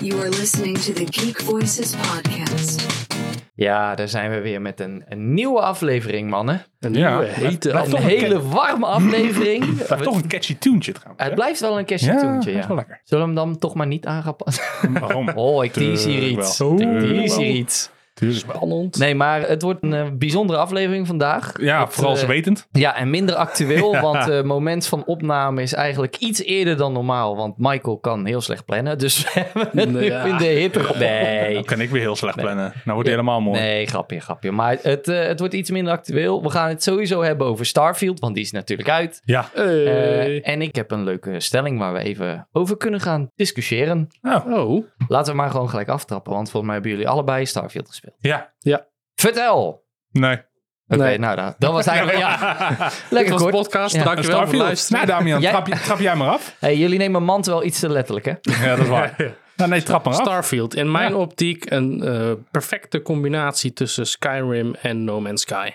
You are listening to the Geek Voices podcast. Ja, daar zijn we weer met een, een nieuwe aflevering, mannen. eh, Een Ja, nieuwe, hete Een aflevering. hele warme aflevering. Het blijft toch een catchy tuentje trouwens. Het blijft wel een kerstje ja, toentje, dat is ja. wel lekker. Zullen we hem dan toch maar niet aan gaan passen? Waarom? Oh, ik tease hier Tuurlijk iets. wel. Ik Tuurlijk tease hier wel. iets. Tuurlijk wel. Spannend. Nee, maar het wordt een eh, bijzondere aflevering vandaag. Ja, Het, vooral eh, ze wetend. Ja, en minder actueel, want eh, het moment van opname is eigenlijk iets eerder dan normaal. Want Michael kan heel slecht plannen, dus we hebben het nu Ja. in de hitte. Nee, Dan kan ik weer heel slecht plannen. Nou wordt het helemaal mooi. Nee, grapje, grapje. Maar het, eh, het wordt iets minder actueel. We gaan het sowieso hebben over Starfield, want die is natuurlijk uit. Ja, Hey. Eh, en ik heb een leuke stelling waar we even over kunnen gaan discussiëren. nou, oh, Laten we maar gewoon gelijk aftrappen, want volgens mij hebben jullie allebei Starfield gespeeld. ja, Vertel! Oké, nee. Nee. nou, dat, dat was eigenlijk... ja, dit lekker was de kort. podcast. Ja. Dankjewel voor het Starfield. luisteren. Nou Damian, Jij- trap, je- trap jij maar af. Hey, jullie nemen mand wel iets te letterlijk, hè? Ja, dat is waar. Nou, nee, trap maar af. Starfield. In mijn optiek een eh, perfecte combinatie tussen Skyrim en No Man's Sky.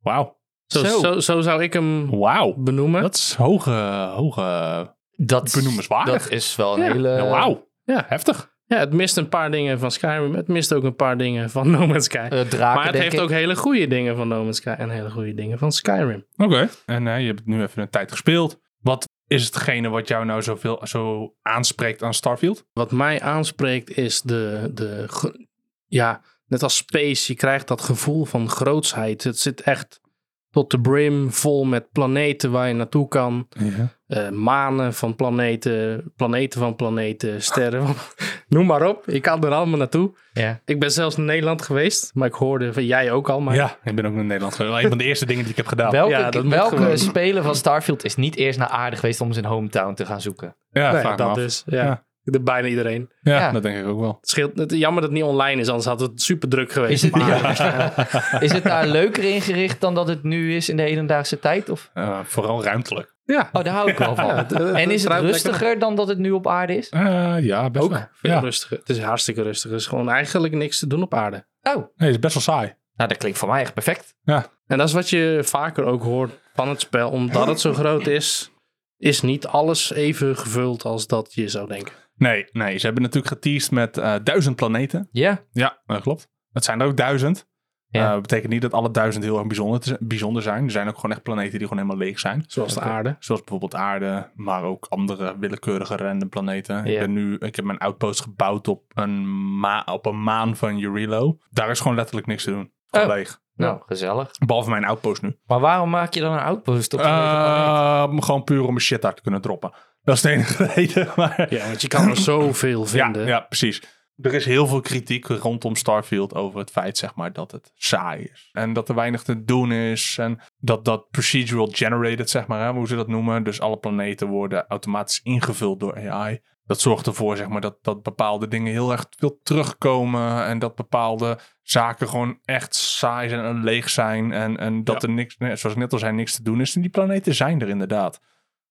Wauw. Zo, Zo. zo. Zo, zou ik hem Wauw. benoemen. Dat is hoge, hoge... eh, Dat, Benoemenswaardig. Dat is wel een Ja. hele... Wauw. Ja. Heftig. ja, het mist een paar dingen van Skyrim. Het mist ook een paar dingen van No Man's Sky. eh, draken, maar het denk heeft ik. ook hele goede dingen van No Man's Sky en hele goede dingen van Skyrim. Oké. En eh, je hebt het nu even een tijd gespeeld. Wat is hetgene wat jou nou zoveel, zo aanspreekt aan Starfield? Wat mij aanspreekt is de, de ge- ja, net als Space, je krijgt dat gevoel van grootsheid. Het zit echt tot de brim vol met planeten waar je naartoe kan. Ja. eh, manen van planeten, planeten van planeten, sterren. van- Noem maar op, ik kan er allemaal naartoe. Ja. Ik ben zelfs in Nederland geweest, maar ik hoorde van jij ook al. Maar ja, ik ben ook naar Nederland geweest. Een van de eerste dingen die ik heb gedaan. Welke, Ja, dat moet welke gewoon. speler van Starfield is niet eerst naar aarde geweest om zijn hometown te gaan zoeken? Ja, Nee, vraag me dat af. dus. Ja. Ja. De- Bijna iedereen. Ja, Ja. dat denk ik ook wel. Het scheelt, het, jammer dat het niet online is, anders had het super druk geweest. Is het, maar, is het daar leuker ingericht dan dat het nu is in de hedendaagse tijd? Of? Eh, vooral ruimtelijk. ja, Oh, daar hou ik wel van. Ja, het- het- en is het ruimt lekker rustiger dan dat het nu op aarde is? Eh, ja, best ook wel. veel Ja. rustiger. Het is hartstikke rustig. Er is gewoon eigenlijk niks te doen op aarde. Oh, nou Nee, het is best wel saai. dat klinkt voor mij echt perfect. En dat is wat je vaker ook hoort van het spel. Omdat het zo groot is, is niet alles even gevuld als dat je zou denken. Nee, nee, ze hebben natuurlijk geteased met eh, duizend planeten. Ja. Ja, dat klopt. Het zijn er ook duizend. Ja. Ja. betekent niet dat alle duizend heel erg bijzonder, te- bijzonder zijn. Er zijn ook gewoon echt planeten die gewoon helemaal leeg zijn. Zoals de Oké. aarde. Zoals bijvoorbeeld aarde, maar ook andere willekeurige random planeten. Ja. Ik, ben nu, ik heb mijn outpost gebouwd op een, ma op een maan van Eurilo. Daar is gewoon letterlijk niks te doen. Gewoon Oh. leeg. Nou, gezellig. Behalve mijn outpost nu. Maar waarom maak je dan een outpost op een planeet? Eh, om gewoon puur om mijn shit daar te kunnen droppen. Dat is de enige reden. Maar Ja, want je kan er zoveel vinden. Ja, ja, precies. Er is heel veel kritiek rondom Starfield over het feit zeg maar, dat het saai is. En dat er weinig te doen is. En dat dat procedural generated, zeg maar, hè, hoe ze dat noemen. Dus alle planeten worden automatisch ingevuld door AI. Dat zorgt ervoor zeg maar, dat, dat bepaalde dingen heel erg veel terugkomen. En dat bepaalde zaken gewoon echt saai zijn en leeg zijn. En, en dat er niks, nee, zoals ik net al zei, niks te doen is. En die planeten zijn er inderdaad.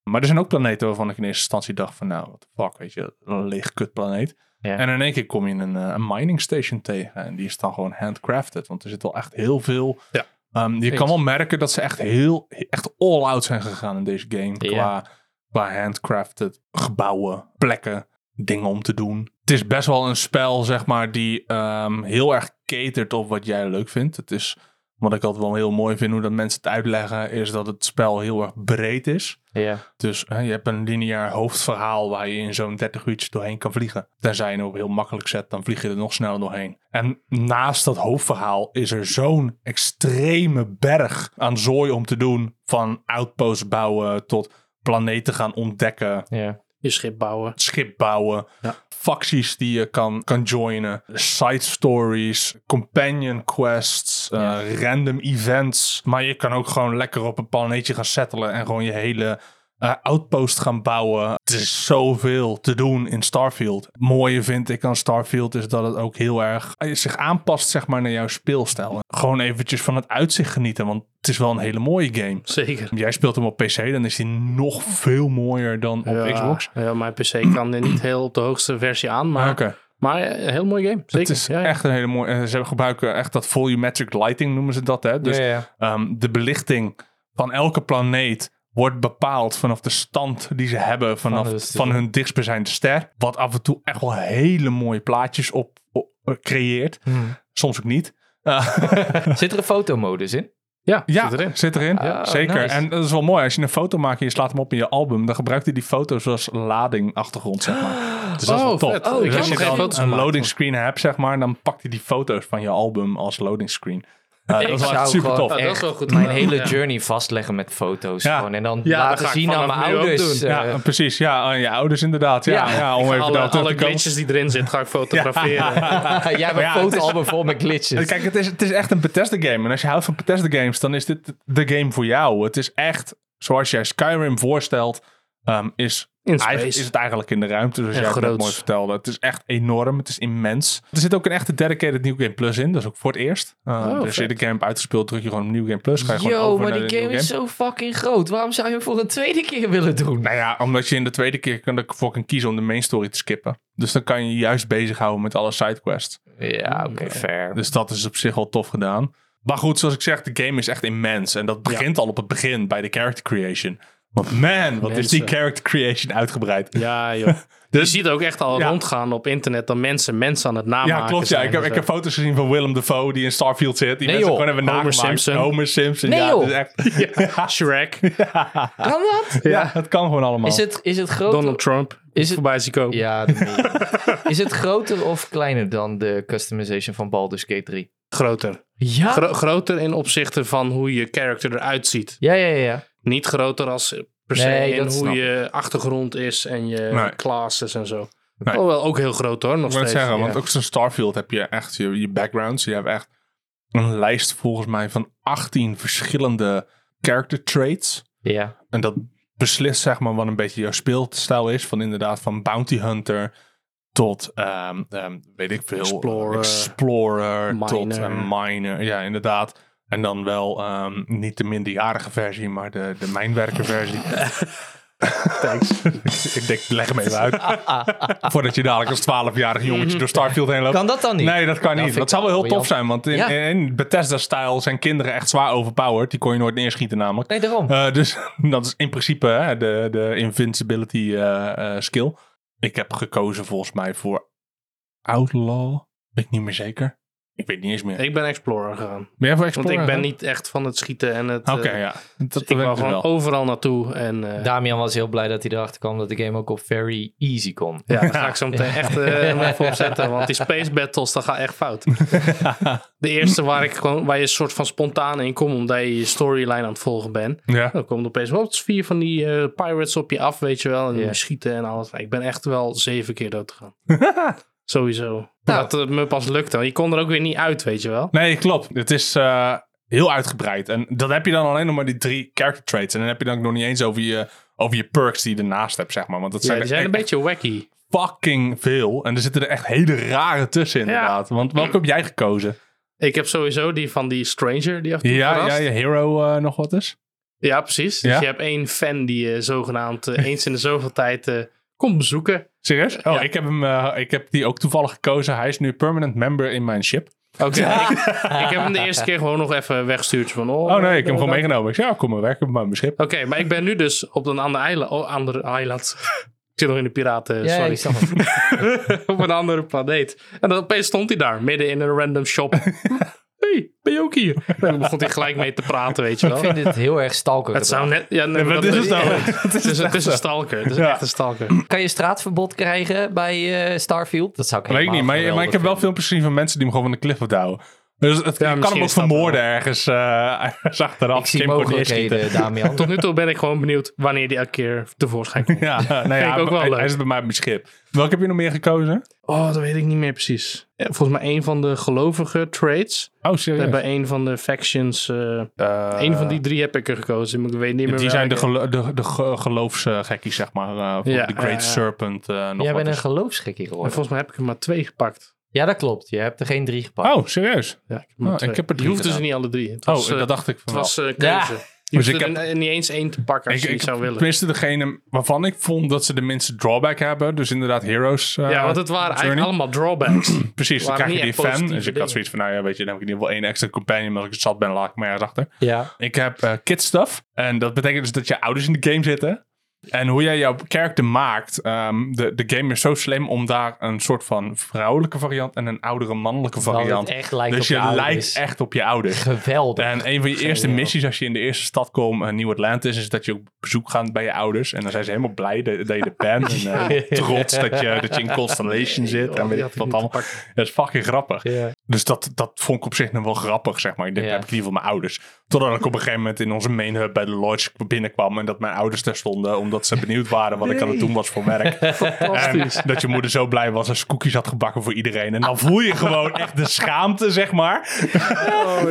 Maar er zijn ook planeten waarvan ik in eerste instantie dacht van... nou, wat fuck, weet je, een leeg kutplaneet. Ja. En in één keer kom je een, eh, een mining station tegen. En die is dan gewoon handcrafted. Want er zit wel echt heel veel... Ja. Ehm, je kan wel merken dat ze echt heel... echt all-out zijn gegaan in deze game. Ja. Qua, qua handcrafted gebouwen, plekken, dingen om te doen. Het is best wel een spel, zeg maar, die ehm, heel erg catert op wat jij leuk vindt. Het is... Wat ik altijd wel heel mooi vind hoe dat mensen het uitleggen, is dat het spel heel erg breed is. Ja. Dus hè, je hebt een lineair hoofdverhaal waar je in zo'n 30 uurtjes doorheen kan vliegen. Tenzij je hem op heel makkelijk zet, dan vlieg je er nog sneller doorheen. En naast dat hoofdverhaal is er zo'n extreme berg aan zooi om te doen. Van outposts bouwen tot planeten gaan ontdekken, ja. Je schip bouwen. schip bouwen, facties die je kan, kan joinen, side stories, companion quests, eh, random events. Maar je kan ook gewoon lekker op een planeetje gaan settelen en gewoon je hele eh, outpost gaan bouwen. Het is zoveel te doen in Starfield. Het mooie vind ik aan Starfield is dat het ook heel erg eh, zich aanpast zeg maar, naar jouw speelstijl. Gewoon eventjes van het uitzicht genieten, want het is wel een hele mooie game. Zeker. Jij speelt hem op PC, dan is hij nog veel mooier dan op ja, Xbox. Ah, Ja, mijn PC kan er niet heel op de hoogste versie aan, maar, Oké. maar eh, heel mooi game. Zeker. Het is ja, ja. echt een hele mooie. en Ze gebruiken echt dat volumetric lighting, noemen ze dat. Hè? Dus ja, ja. ehm, de belichting van elke planeet wordt bepaald vanaf de stand die ze hebben vanaf, Van van, de ster. hun dichtstbijzijnde ster. Wat af en toe echt wel hele mooie plaatjes op, op- eh, creëert. Hmm. Soms ook niet. Eh, Zit er een fotomodus in? Ja, Ja, zit erin. zit erin. Oh, Zeker. nice. En dat is wel mooi. Als je een foto maakt en je slaat hem op in je album, dan gebruikt hij die foto's als lading achtergrond, zeg maar. Dus dat is wel Oh, top. vet. Oh, ik dus heb als je nog geen dan foto's een gemaakt. loading screen hebt, zeg maar, dan pakt hij die foto's van je album als loading screen. Eh, dat is wel echt super tof. Oh, dat is echt wel goed mijn gedaan, hele ja. journey vastleggen met foto's. Ja. Gewoon. En dan Ja, dat laten ga ik zien aan vanaf mijn nu ook ouders. doen. Ja, eh, precies. Ja, aan je ouders inderdaad. Ja, ja. Ja. om even Alle, daar terug alle te komen. glitches die erin zitten ga ik fotograferen. Jij hebt een ja, het is- fotoalbum vol met glitches. Kijk, het is, het is echt een Bethesda game. En als je houdt van Bethesda games, dan is dit de game voor jou. Het is echt, zoals jij Skyrim voorstelt, ehm, is In Eigenlijk is space. het eigenlijk in de ruimte, zoals En jij ook net groots. mooi vertelde. Het is echt enorm, het is immens. Er zit ook een echte dedicated New Game Plus in, dat is ook voor het eerst. Uh, Oh, dus als je vet. de game hebt uitgespeeld, druk je gewoon op New Game Plus. Ga je gewoon Yo, over maar naar die de game New is zo fucking groot. Waarom zou je hem voor een tweede keer willen doen? Nou ja, omdat je in de tweede keer kan ervoor kan kiezen om de main story te skippen. Dus dan kan je je juist bezighouden met alle sidequests. Ja, oké, fair. Dus dat is op zich al tof gedaan. Maar goed, zoals ik zeg, de game is echt immens. En dat begint al op het begin bij de character creation. Want man, wat is die Mensen. character creation uitgebreid. Ja, joh. Dus- je ziet ook echt al Ja. rondgaan op internet dat mensen mensen aan het Ja, namaken klopt. Ja. zijn Ik, heb, en ik zo. heb foto's gezien van Willem Dafoe die in Starfield zit. Nee, Die mensen joh. gewoon hebben Homer nagemaakt. Simpson. Homer Simpson. Nee, ja, joh. het is echt, ja, Shrek, Kan dat? ja, het kan gewoon allemaal. Is het, is het groter? Donald Trump, Is het, voorbij zien komen. ja, de meme. is het groter of kleiner dan de customization van Baldur's Gate 3? Groter. Ja. Gro- groter in opzichte van hoe je character eruit ziet. ja, ja, ja, ja. Niet groter als per se Nee, in dat hoe snap je achtergrond is en je Nee. classes en zo. Nee. Oh, wel ook heel groot hoor, nog Ik wil het steeds. zeggen, ja. want ook zo'n Starfield heb je echt je, je backgrounds. Je hebt echt een lijst volgens mij van 18 verschillende character traits. Ja, En dat beslist zeg maar wat een beetje jouw speelstijl is. Van inderdaad van bounty hunter tot ehm, ehm, weet ik veel. Explorer. Explorer tot Miner. een miner. Ja, inderdaad. En dan wel ehm, niet de minderjarige versie, maar de, de mijnwerkerversie. Thanks. ik denk, leg hem even uit. Voordat je dadelijk als 12-jarig jongetje door Starfield heen loopt. Kan dat dan niet? Nee, dat kan niet. vind Dat ik zou wel heel wel jammer. tof zijn, want in, Ja. in Bethesda-stijl zijn kinderen echt zwaar overpowered. Die kon je nooit neerschieten namelijk. nee, daarom. Eh, dus dat is in principe hè, de, de invincibility eh, eh, skill. Ik heb gekozen volgens mij voor Outlaw. Weet ik niet meer zeker. Ik weet niet eens meer. Ik ben Explorer gegaan. ben jij voor Want Explorer? ik ben niet echt van het schieten en het... Oké, eh, ja. Dat Ik weet wou ik gewoon wel. overal naartoe en... eh, Damian was heel blij dat hij erachter kwam dat de game ook op very easy kon. Ja, daar ga ik zo meteen echt eh, hem even op zetten. Want die space battles, dat gaat echt fout. De eerste waar, ik gewoon, waar je een soort van spontaan in komt, omdat je je storyline aan het volgen bent. Ja. Dan komen er opeens wel vier van die eh, pirates op je af, weet je wel. En Ja. schieten en alles. Ik ben echt wel zeven keer dood gegaan. Sowieso. Nou. Dat het me pas lukte. want Je kon er ook weer niet uit, weet je wel. Nee, klopt. Het is eh, heel uitgebreid. En dat heb je dan alleen nog maar die drie character traits. En dan heb je dan ook nog niet eens over je, over je perks die je ernaast hebt, zeg maar. Want dat eh, Ja, zijn, die er zijn echt een beetje wacky. fucking veel. En er zitten er echt hele rare tussen, inderdaad. Want welke heb jij gekozen? Ik heb sowieso die van die stranger die af en toe Ja, verrast. ja, je hero eh, nog wat is? Ja, precies. Ja. Dus je hebt één fan die je zogenaamd eh, eens in de zoveel tijd eh, komt bezoeken. Serieus? Oh, Ja. ik, heb hem, eh, ik heb die ook toevallig gekozen. Hij is nu permanent member in mijn ship. Oké, ik, ik heb hem de eerste keer gewoon nog even weggestuurd. Van, oh, Oh nee, ik heb hem eh, gewoon dat- meegenomen. Ik zei, ja, kom maar werken op mijn schip. Oké, maar ik ben nu dus op een ander eiland. Oh, andere eiland. ik zit nog in de piraten, Ja, sorry. ik snap het. op een andere planeet. En dan opeens stond hij daar, midden in een random shop. hey, ben je ook hier? En dan begon hij gelijk mee te praten, weet je wel. Ik vind dit heel erg stalker. Het zou net... Ja, nee, wat dat is het nou? Het is, een- het is een stalker. Het is Ja. echt een stalker. Kan je straatverbod krijgen bij eh, Starfield? Dat zou ik Weet ik helemaal niet, maar, maar geweldig ik heb wel vinden. filmpjes gezien van mensen die hem gewoon van de cliff afdouwen. Dus het je kan misschien hem ook is dat vermoorden ergens, eh ergens achteraf. Ik zie Kim kon mogelijkheden, neerschieten. Damian. Tot nu toe ben ik gewoon benieuwd wanneer die elke keer tevoorschijn komt. Ja, nou ja, ik ook wel hij, leuk. hij zit bij mij op mijn schip. Welke heb je nog meer gekozen? Oh, dat weet ik niet meer precies. Eh, Volgens mij een van de gelovige traits. Oh, serieus? Bij een van de factions. eh Eh, een van die drie heb ik er gekozen. maar Ik weet niet meer Die zijn de, welke. gelo de, de ge- geloofsgekkies, zeg maar. eh, van Ja, de Great ja, ja. Serpent. eh, nog Jij wat bent een is. geloofsgekkie En geworden. volgens mij heb ik er maar twee gepakt. Ja, dat klopt. Je hebt er geen drie gepakt. Oh, serieus? Ja, ik heb, maar Oh, twee. ik heb er Die drie hoefden ze gedaan. niet alle drie. Het Oh, was, eh, dat dacht ik van het wel. was eh, Ja. keuze. Dus ik ik heb- heb niet eens één te pakken als Ik, je die ik, zou willen. tenminste, degene waarvan ik vond dat ze de minste drawback hebben. Dus inderdaad, Heroes. eh, ja, want het waren Journey. eigenlijk allemaal drawbacks. Oh, Precies, dan waren krijg je niet die echt fan. positieve Dus ik dingen. had zoiets van, nou ja, weet je, dan heb ik in ieder geval één extra companion. Omdat ik het zat ben, laat ik maar ergens achter. Ja. Ik heb eh, kid stuff. En dat betekent dus dat je ouders in de game zitten. En hoe jij jouw character maakt. ehm, de, de game is zo slim om daar een soort van vrouwelijke variant en een oudere mannelijke variant. het echt lijkt dus op je je ouders. lijkt echt op je ouders. Geweldig. En een van je eerste missies als je in de eerste stad komt, eh, Nieuw Atlantis, is dat je op bezoek gaat bij je ouders. En dan zijn ze helemaal blij dat, dat je er bent. En eh, trots dat je, dat je in Constellation zit. en weet die ik had ik wat niet allemaal. Dat is fucking grappig. Ja. Dus dat, dat vond ik op zich nog wel grappig, zeg maar. Ik denk, Ja. dat heb ik in ieder geval mijn ouders. Totdat ik op een gegeven moment in onze main hub bij de lodge binnenkwam... en dat mijn ouders daar stonden, omdat ze benieuwd waren... wat ik aan het doen was voor werk. En Ehm, dat je moeder zo blij was als ze koekjes had gebakken voor iedereen. En dan voel je gewoon echt de schaamte, zeg maar...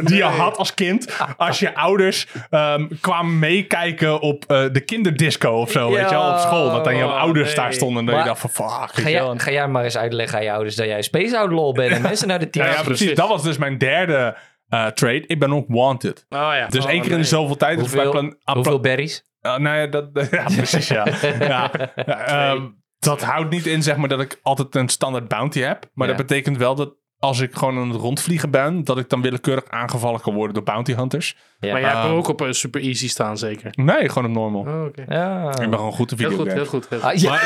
die je had als kind. Als je ouders ehm, kwamen meekijken op eh, de kinderdisco of zo, weet je wel, op school. Dat dan jouw Ja, ouders nee. daar stonden en dat je Maar- dacht van... fuck, weet Ga je wel. jij, ga jij maar eens uitleggen aan je ouders dat jij Space Outlaw bent en mensen naar de team. Ja, ja, precies. Dat was dus mijn derde eh, trade. Ik ben ook wanted. Oh ja. Dus Oh, één keer in nee. de zoveel tijd. dat is bij Hoeveel, plan- ah, hoeveel plan- berries? ah, nou ja, dat, ja precies, ja. ja. Ehm, dat houdt niet in, zeg maar, dat ik altijd een standaard bounty heb. Maar Ja. dat betekent wel dat als ik gewoon aan het rondvliegen ben, dat ik dan willekeurig aangevallen kan worden door bounty hunters. Ja. Maar jij hebt hem Ah. ook op een super easy staan, zeker. Nee, gewoon op normal. Oh, oké. Ja. Ik ben gewoon goed te Heel video goed, heel goed. Heel goed. Ah,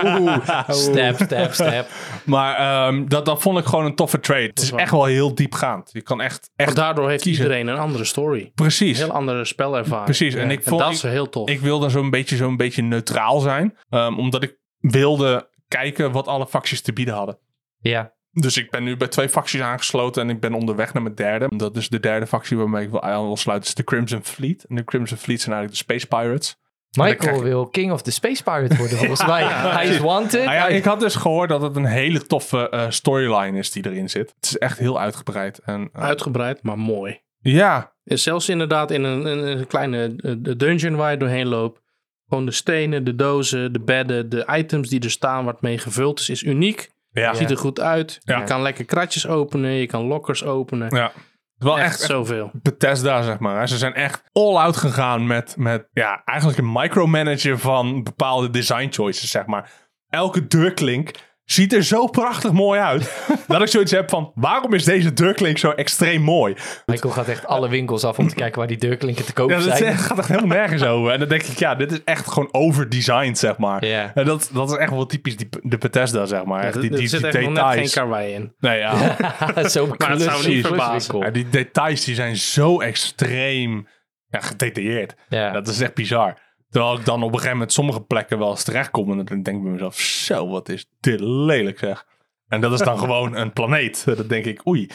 ja. Oeh. Step, step, step. Maar ehm, dat, dat vond ik gewoon een toffe trade. Het is waar. echt wel heel diepgaand. Je kan echt, Want echt daardoor heeft kiezen. iedereen een andere story. precies. Een heel andere spelervaring. Precies, en Ja. ik vond- dat ik- is heel tof. Ik wilde zo'n beetje, zo'n beetje neutraal zijn. ehm, omdat ik wilde kijken wat alle facties te bieden hadden. Ja. Dus ik ben nu bij twee facties aangesloten en ik ben onderweg naar mijn derde. Dat is de derde factie waarmee ik wil aan wil sluiten. is de Crimson Fleet. En de Crimson Fleet zijn eigenlijk de Space Pirates. krijg Michael je- wil King of the Space Pirate worden, volgens mij. Hij is wanted. Nou ja, Hij- ik had dus gehoord dat het een hele toffe eh, storyline is die erin zit. Het is echt heel uitgebreid. En, eh, Uitgebreid, maar mooi. ja, En zelfs inderdaad in een, in een kleine eh, de dungeon waar je doorheen loopt. Gewoon de stenen, de dozen, de bedden, de items die er staan, wat mee gevuld is, is uniek. ja. Ziet er goed uit. Ja. Je kan lekker kratjes openen, je kan lockers openen. Ja. Wel Echt, echt, zoveel. Bethesda, zeg maar. hè. Ze zijn echt all-out gegaan met, met ja, eigenlijk een micromanager van bepaalde design choices, zeg maar. Elke deurklink ziet er zo prachtig mooi uit, dat ik zoiets heb van, waarom is deze deurklink zo extreem mooi? Michael gaat echt alle winkels af om te kijken waar die deurklinken te koop Ja, dat is zijn. echt- gaat echt helemaal nergens over. En dan denk ik, ja, dit is echt gewoon overdesigned, zeg maar. Ja. En dat, dat is echt wel typisch die, de Bethesda, zeg maar. Echt, Er- die, er die, zit die echt nog net geen details. karwei in. Nee, ja. Zo zou me klus- niet verbazen. Ja, kluswinkel. die details die zijn zo extreem ja, gedetailleerd. Ja. Dat is echt bizar. Terwijl ik dan op een gegeven moment sommige plekken wel eens terechtkom. En dan denk ik bij mezelf, zo, wat is dit lelijk zeg. En dat is dan gewoon een planeet. Dat denk ik, oei,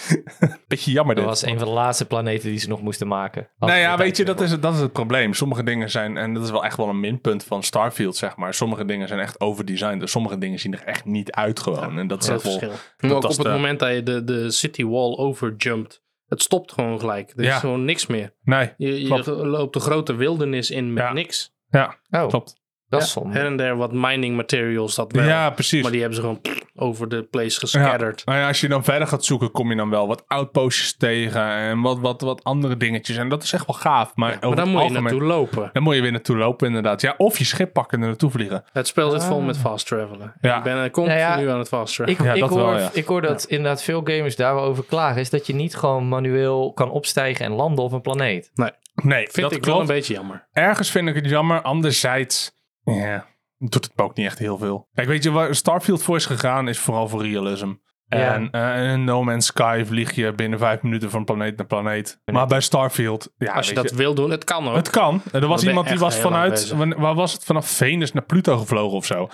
beetje jammer dit. Dat was een van de laatste planeten die ze nog moesten maken. Nou ja, weet je, dat is, het, dat is het probleem. Sommige dingen zijn, en dat is wel echt wel een minpunt van Starfield, zeg maar. Sommige dingen zijn echt overdesigned. En sommige dingen zien er echt niet uit gewoon. en dat is Groot echt wel... verschil. Maar ook dat op is het de- moment dat je de, de city wall overjumpt, het stopt gewoon gelijk. Er Ja. is gewoon niks meer. Nee, Je, je Klopt. loopt de grote wildernis in met Ja. niks. ja, Oh, klopt. dat is Ja. zonde. Her en der wat mining materials, dat wel. Ja, precies. Maar die hebben ze gewoon over de place Ja. gescatterd. Nou ja, als je dan verder gaat zoeken, kom je dan wel wat outpostjes tegen en wat, wat, wat andere dingetjes. En dat is echt wel gaaf. Maar, Maar over het dan moet je algemeen, naartoe lopen. dan moet je weer naartoe lopen, inderdaad. Ja, of je schip pakken en er naartoe vliegen. Het spel zit vol met fast travelen. En Ja. Ik ben eh, continu Ah. Nou ja, aan het fast Ik, travelen. Ja, ik, dat hoor, wel, ja. ik hoor dat inderdaad veel gamers daar wel over klagen. Is dat je niet gewoon manueel kan opstijgen en landen op een planeet. Nee, dat Vind ik wel een klopt. beetje jammer. Ergens vind ik het jammer. Anderzijds, ja, doet het me ook niet echt heel veel. Kijk, weet je waar Starfield voor is gegaan, is vooral voor realism. Ja. En eh, in No Man's Sky vlieg je binnen vijf minuten van planeet naar planeet. Maar bij Starfield, ja, Als je weet dat wil doen, het kan ook. Het kan. Er was ben iemand die echt was heel lang vanuit, bezig. wan- waar was het? Vanaf Venus naar Pluto gevlogen of zo.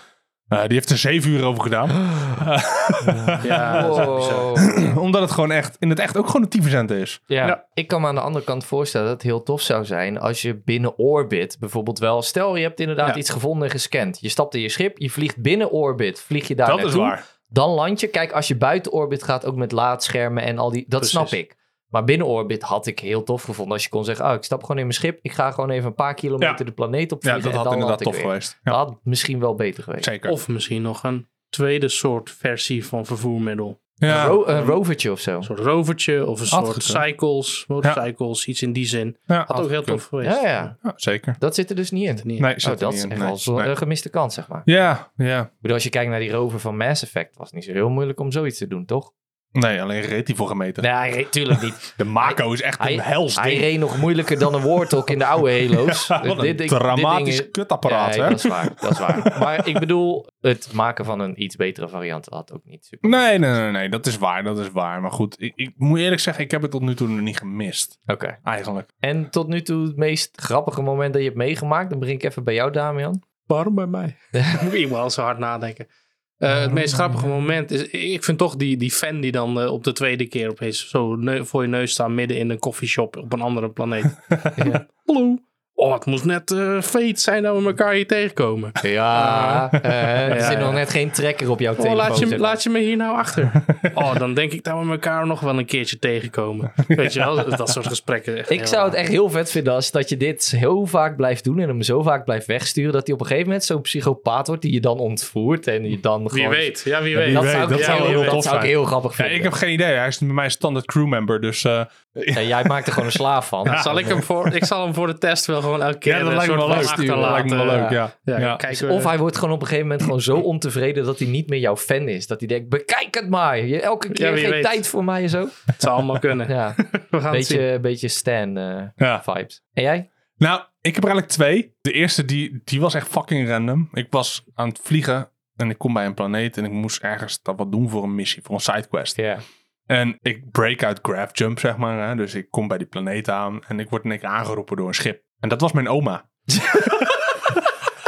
Eh, die heeft er zeven uur over gedaan. Ja, dat is ook bizar. Omdat het gewoon echt, in het echt ook gewoon een tyfuscent is. Ja. Ja. ik kan me aan de andere kant voorstellen dat het heel tof zou zijn als je binnen orbit bijvoorbeeld wel... Stel, je hebt inderdaad Ja. iets gevonden en gescand. Je stapt in je schip, je vliegt binnen orbit, vlieg je daar dat is naartoe. waar. Dan land je. Kijk, als je buiten orbit gaat, ook met laadschermen en al die... Dat Precies. snap ik. Maar binnen orbit had ik heel tof gevonden als je kon zeggen... Oh, ik stap gewoon in mijn schip, ik ga gewoon even een paar kilometer Ja. de planeet op Ja, vliegen dat en had dan inderdaad land ik tof weer. geweest. Ja, Dat had misschien wel beter geweest. zeker. Of misschien nog een tweede soort versie van vervoermiddel. Een, Ja. ro- een rovertje of zo. Een soort rovertje of een Had soort gekund. cycles, motorcycles, iets in die zin. Ja, Had ook heel gekund. tof geweest. Ja, ja. Ja, zeker. Dat zit er dus niet in. Niet. Nee, zit Oh, er dat niet is in. echt Nee, wel zo'n nee. eh, gemiste kans, zeg maar. Ja, ja. Ik bedoel, als je kijkt naar die rover van Mass Effect, was het niet zo heel moeilijk om zoiets te doen, toch? Nee, alleen reed hij voor gemeten. Nee, hij reed- tuurlijk niet. De Mako is echt Hij, een hels hij ding. reed nog moeilijker dan een Warthog in de oude Halo's. Ja, wat een dramatisch ding is- kutapparaat, Nee, hè? dat is waar, dat is waar. Maar ik bedoel, het maken van een iets betere variant had ook niet super. Nee, nee, nee, nee, dat is waar, dat is waar. Maar goed, ik, ik moet eerlijk zeggen, ik heb het tot nu toe nog niet gemist, Oké. eigenlijk. En tot nu toe het meest grappige moment dat je hebt meegemaakt, dan begin ik even bij jou, Damian. Waarom bij mij? Moet ik wel zo hard nadenken. Eh, het meest grappige moment is, ik vind toch die, die fan die dan eh, op de tweede keer opeens zo neu- voor je neus staat midden in een coffeeshop op een andere planeet. Ja. Hallo. Oh, het moest net eh fate zijn dat we elkaar hier tegenkomen. Ah. Ja, Eh, er Ja, zit ja. nog net geen trekker op jouw Oh, telefoon. laat je, zeg maar. laat je me hier nou achter. Oh, dan denk ik dat we elkaar nog wel een keertje tegenkomen. Weet je wel, dat dat soort gesprekken. echt Ik heel zou het raar. echt heel vet vinden als dat je dit heel vaak blijft doen en hem zo vaak blijft wegsturen dat hij op een gegeven moment zo'n psychopaat wordt die je dan ontvoert en je dan Wie gewoon... weet, ja, wie Dat, weet. Wie weet, zou, ik- dat ja, zou heel dat tof zou ik zijn. heel grappig Ja, vinden. ik heb geen idee. Hij is bij mij standaard crewmember, dus... eh, Ja, jij maakt er gewoon een slaaf van. Dat Zal ik, hem voor, ik zal hem voor de test wel gewoon elke keer ja, dat een lijkt me soort wel van leuk. Dat achterlaten. lijkt me eh, wel leuk, ja. Ja, Ja. kijken we- Of hij wordt gewoon op een gegeven moment gewoon zo ontevreden dat hij niet meer jouw fan is. Dat hij denkt, bekijk het maar. Je, elke keer Ja, wie geen weet. tijd voor mij en zo. Het zou allemaal kunnen. Ja, We gaan het zien. beetje, beetje Stan eh, Ja. vibes. En jij? Nou, ik heb er eigenlijk twee. De eerste, die, die was echt fucking random. Ik was aan het vliegen en ik kom bij een planeet en ik moest ergens dat wat doen voor een missie, voor een sidequest. Ja. En ik break out grab jump, zeg maar. Hè? Dus ik kom bij die planeet aan en ik word in één keer aangeroepen door een schip. En dat was mijn oma.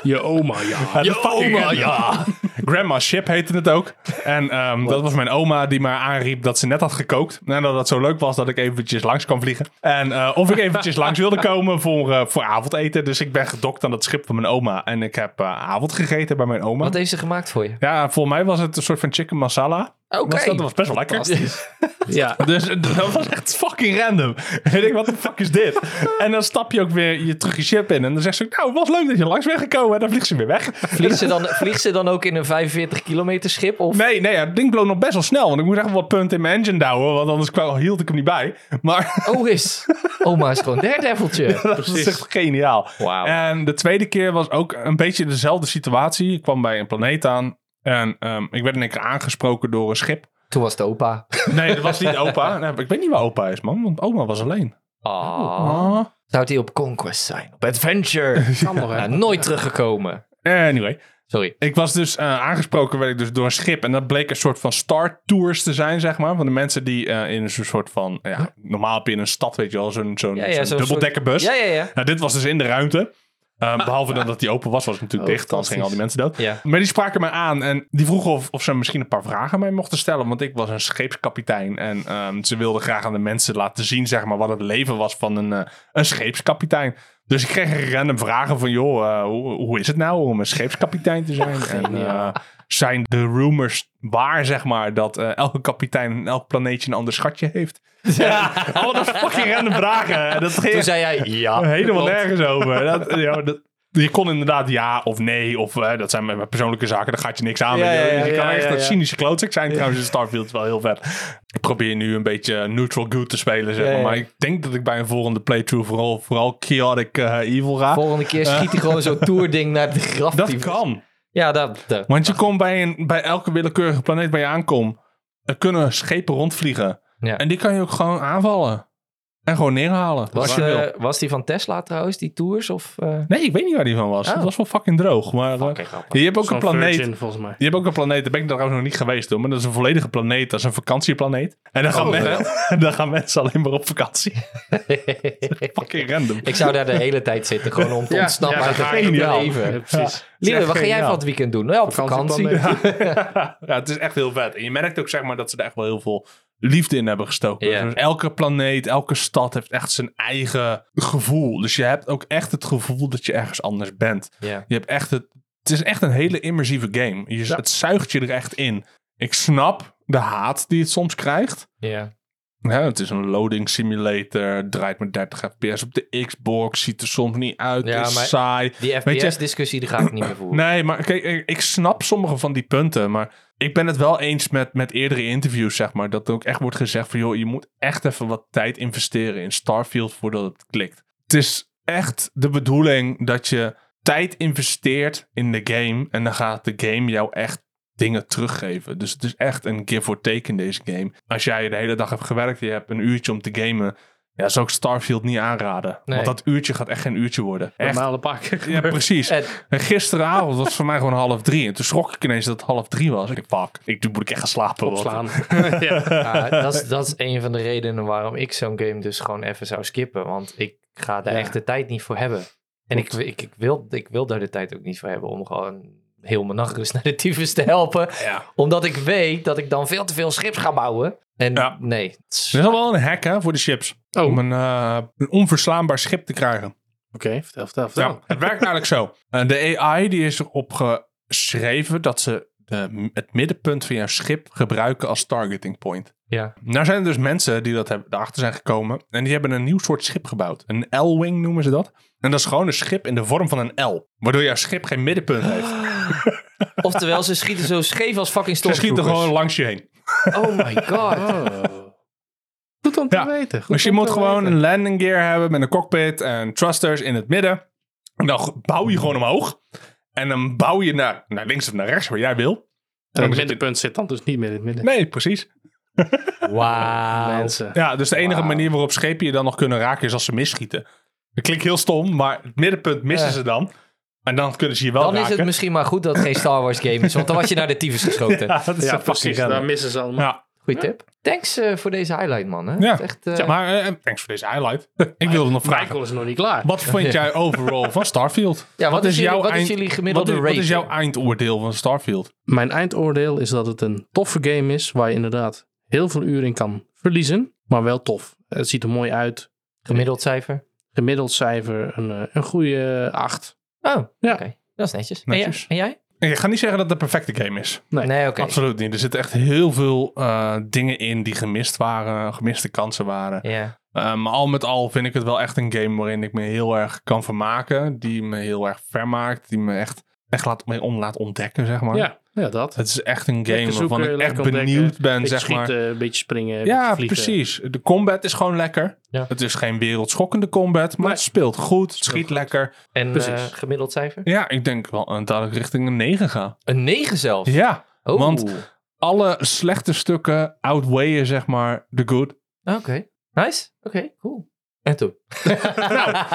Je oma, ja. Ja, dat is fucking random. Grandma's Ship heette het ook. En ehm, dat was mijn oma die me aanriep dat ze net had gekookt. En dat het zo leuk was dat ik eventjes langs kan vliegen. En eh, of ik eventjes langs wilde komen voor, eh, voor avondeten. Dus ik ben gedokt aan het schip van mijn oma. En ik heb eh, avond gegeten bij mijn oma. Wat e- heeft ze gemaakt voor je? Ja, voor mij was het een soort van chicken masala. Oké. Was dat dat was best wel lekker. ja. Dus dat was echt fucking random. En ik denk, wat de fuck is dit? En dan stap je ook weer je terug je ship in. En dan zegt ze, ook, nou, het was leuk dat je langs bent gekomen. En dan vliegt ze weer weg. Vliegt ze, dan, vliegt ze dan ook in een 45 kilometer schip? Of? Nee, nee, ja, het ding bloot nog best wel snel. Want ik moest echt wel wat punten in mijn engine douwen. Want anders kwam, hield ik hem niet bij. Maar Oh, is. Oma is gewoon derdeveltje. dat is echt geniaal. Wauw. En de tweede keer was ook een beetje dezelfde situatie. Ik kwam bij een planeet aan. En ehm, ik werd in één keer aangesproken door een schip. Toen was het opa. Nee, dat was niet opa. Nee, ik weet niet waar opa is, man. Want oma was alleen. Ah. Zou die op Conquest zijn? Op Adventure. Kan nog, hè? Ja, nooit teruggekomen. Anyway. Sorry. Ik was dus eh, aangesproken werd ik dus door een schip. En dat bleek een soort van Star Tours te zijn, zeg maar. Van de mensen die eh, in een soort van... Ja, normaal heb je in een stad, weet je wel, zo'n zo'n Ja, ja, zo'n zo'n dubbeldekkerbus. Ja, ja, ja. Nou, dit was dus in de ruimte. Eh, behalve dan dat die open was, was het natuurlijk Oh, dicht. Anders gingen al die mensen dood. Ah. Ja. Maar die spraken mij aan en die vroegen of, of ze misschien een paar vragen aan mij mochten stellen. Want ik was een scheepskapitein en ehm, ze wilden graag aan de mensen laten zien zeg maar, wat het leven was van een, eh, een scheepskapitein. Dus ik kreeg random vragen van, joh, eh, hoe, hoe is het nou om een scheepskapitein te zijn? en eh, zijn de rumors waar, zeg maar, dat eh, elke kapitein en elk planeetje een ander schatje heeft? Ja, allemaal fucking random vragen. En Dat ging Toen zei jij ja. helemaal Ah, klopt. nergens over. Dat, ja, dat, je kon inderdaad ja of nee, of eh, dat zijn mijn mijn persoonlijke zaken, daar gaat je niks aan. Ja, weet je wel. ja, Dus je ja, kan ja, echt dat ja. cynische klootzak zijn trouwens in Starfield, wel heel vet. Ik probeer nu een beetje neutral good te spelen, zeg Ja, maar. ja. Maar ik denk dat ik bij een volgende playthrough vooral, vooral chaotic eh, evil ga. Volgende keer schiet hij gewoon zo'n toerding naar de graf. dat Die- kan. Ja, dat... dat. Want je komt bij, een, bij elke willekeurige planeet waar je aankomt, er kunnen schepen rondvliegen. Ja. En die kan je ook gewoon aanvallen. En gewoon neerhalen. Was, als je eh, wil. was die van Tesla trouwens, die tours? Of, eh? Nee, ik weet niet waar die van was. Oh. Het was wel fucking droog. Maar, eh, je hebt ook een Zo'n planeet. Virgin, volgens mij. Je hebt ook een planeet, daar ben ik trouwens nog niet geweest hoor, maar dat is een volledige planeet, dat is een vakantieplaneet. En dan gaan, Oh, men- en dan gaan mensen alleen maar op vakantie. Fucking random. Ik zou daar de hele tijd zitten, gewoon om te Ja, ontsnappen ja, uit dat het ga ik echte niet aan. Ja, leven. precies. Lieve, echt wat ga jij geniaal. van het weekend doen? Nou, ja, op vakantie. Vakantieplaneet. ja, het is echt heel vet. En je merkt ook zeg maar dat ze er echt wel heel veel liefde in hebben gestoken. Ja. Dus elke planeet, elke stad heeft echt zijn eigen gevoel. Dus je hebt ook echt het gevoel dat je ergens anders bent. Ja. Je hebt echt het. Het is echt een hele immersieve game. Je, Ja. Het zuigt je er echt in. Ik snap de haat die het soms krijgt. Ja. Ja, het is een loading simulator, draait met 30 fps op de Xbox, ziet er soms niet uit, Ja, is maar- saai. Die Weet je- FPS-discussie die ga ik niet meer voeren. Nee, maar kijk, ik, ik snap sommige van die punten, maar ik ben het wel eens met, met eerdere interviews, zeg maar, dat er ook echt wordt gezegd van, joh, je moet echt even wat tijd investeren in Starfield voordat het klikt. Het is echt de bedoeling dat je tijd investeert in de game en dan gaat de game jou echt dingen teruggeven. Dus het is echt een give or take in deze game. Als jij de hele dag hebt gewerkt en je hebt een uurtje om te gamen, ja, zou ik Starfield niet aanraden. Nee. Want dat uurtje gaat echt geen uurtje worden. Echt, Normale pakken. ja, precies. En- En gisteravond was het voor mij gewoon half drie. En toen schrok ik ineens dat het half drie was. Ik denk, fuck, ik, toen moet ik echt gaan slapen. want- opslaan. ja. Ja, dat, is, dat is een van de redenen waarom ik zo'n game dus gewoon even zou skippen. Want ik ga daar Ja. echt de tijd niet voor hebben. En ik, ik, ik, wil, ik wil daar de tijd ook niet voor hebben om gewoon heel mijn nachtrust naar de tyfus te helpen. Ja. Omdat ik weet dat ik dan veel te veel chips ga bouwen. En Ja. nee. het is- Er is al wel een hack hè, voor de chips. Oh, Om oké. een, eh, een onverslaanbaar schip te krijgen. Vertel, vertel, vertel. Ja, het werkt eigenlijk zo. Eh, de AI die is erop geschreven dat ze de, het middenpunt van jouw schip gebruiken als targeting point. Ja. Nou zijn er dus mensen die dat hebben, daarachter zijn gekomen. En die hebben een nieuw soort schip gebouwd. Een L-wing noemen ze dat. En dat is gewoon een schip in de vorm van een L. Waardoor jouw schip geen middenpunt heeft. Oftewel, ze schieten zo scheef als fucking Ze schieten stormtroopers. gewoon langs je heen. Oh my god. Oh. Goed om te Ja. weten. goed Dus je om moet te gewoon weten. een landing gear hebben met een cockpit en thrusters in het midden. En dan g- bouw je gewoon omhoog. En dan bouw je naar, naar links of naar rechts, waar jij wil. En het zit je- middenpunt zit dan dus niet meer in het midden. Nee, precies. Wauw. Mensen. Ja, dus de enige Wauw. manier waarop schepen je dan nog kunnen raken is als ze misschieten. Dat klinkt heel stom, maar het middenpunt missen Ja. ze dan. En dan kunnen ze je wel Dan is raken. het misschien maar goed dat het geen Star Wars game is. Want dan was je naar de tyfus geschoten. Ja, dat is Ja, een fucking precies. random. Daar missen ze allemaal. Ja, Goeie tip. Thanks eh, voor deze highlight, man. Hè? Ja. Het is Echt, eh, Ja, maar eh, thanks voor deze highlight. Ik wilde nog vragen. Michael is nog niet klaar. Wat vond jij overal van Starfield? Ja, wat, is, jullie, wat eind- is jullie gemiddelde wat is, rate? Wat is jouw eindoordeel van Starfield? Mijn eindoordeel is dat het een toffe game is waar je inderdaad heel veel uren in kan verliezen, maar wel tof. Het ziet er mooi uit. gemiddeld cijfer? Gemiddeld cijfer een, eh, een goede 8. Oh, Ja. oké. Dat is netjes. Netjes. En jij? En jij? Ik ga niet zeggen dat het de perfecte game is. Nee. Nee, oké. Absoluut niet. Er zitten echt heel veel eh, dingen in die gemist waren, gemiste kansen waren. Ja. Eh, maar al met al vind ik het wel echt een game waarin ik me heel erg kan vermaken. Die me heel erg vermaakt. Die me echt, echt laat, mee om laat ontdekken, zeg maar. Ja, ja, dat. Het is echt een game Lekker zoeken, waarvan ik echt lekker ontdekken, benieuwd ben, beetje zeg maar. schieten, een beetje springen, een Ja, beetje vliegen. precies. De combat is gewoon lekker. Ja. Het is geen wereldschokkende combat, maar Nee. het speelt goed, het schiet goed. lekker. En Precies. eh, gemiddeld cijfer? Ja, ik denk wel eh, dat ik richting een 9 ga. Een 9 zelf. Ja, Oh. want- Oké. alle slechte stukken outweighen, zeg maar, de good. Nice. Oké, cool. En toen? Nou.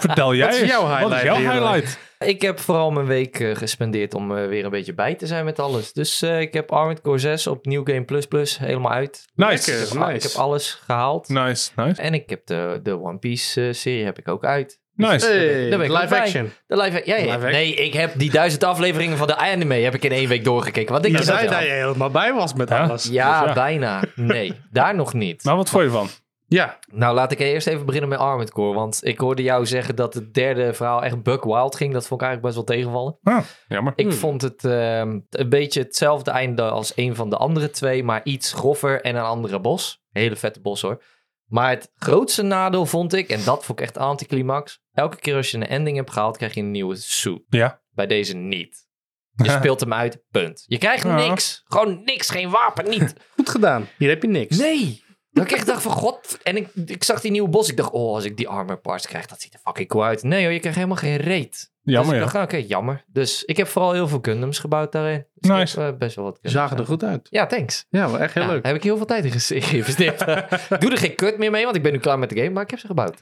Vertel jij is eens, jouw Wat is highlight, jouw Leroy? highlight? Ik heb vooral mijn week eh, gespendeerd om eh, weer een beetje bij te zijn met alles. Dus eh, ik heb Armored Core 6 op New Game Plus Plus helemaal uit. Nice. Ik heb, Lekker. al- Nice. Nou. ik heb alles gehaald. Nice, nice. En ik heb de, de One Piece eh, serie heb ik ook uit. Nice. Hey, Daar ben ik ook live bij. action. De live, ja, ja. Live action. nee, ik heb die duizend afleveringen van de anime heb ik in één week doorgekeken. Want ik Je was zei zelf- dat je helemaal bij was met Ja. alles. ja, Dus ja. bijna. Nee, daar nog niet. Nou, wat vond je van? Ja, Nou, laat ik eerst even beginnen met Armored Core. Want ik hoorde jou zeggen dat het derde verhaal echt Buck Wild ging. Dat vond ik eigenlijk best wel tegenvallen. Ah, jammer. Ik Hmm. vond het ehm, een beetje hetzelfde einde als een van de andere twee. Maar iets grover en een andere bos. Een hele vette bos hoor. Maar het grootste nadeel vond ik, en dat vond ik echt anticlimax. Elke keer als je een ending hebt gehaald, krijg je een nieuwe soep. Ja. Bij deze niet. Je speelt hem uit, punt. Je krijgt Ja. niks. Gewoon niks, geen wapen, niet. goed gedaan. Hier heb je niks. Nee. Dat ik echt dacht van god. En ik, ik zag die nieuwe bos. Ik dacht, oh, als ik die armor parts krijg, dat ziet er fucking cool uit. Nee hoor, je krijgt helemaal geen reet. Jammer, dus ja. ik dacht, oké, jammer. Dus ik heb vooral heel veel Gundams gebouwd daarin. Dus ik Nice. heb, eh, best wel wat Ze Gundams zagen er goed uit. Ja, thanks. Ja, maar echt heel Ja, leuk. daar heb ik heel veel tijd in gese- geïnvesteerd. Ik Doe er geen kut meer mee, want ik ben nu klaar met de game, maar ik heb ze gebouwd.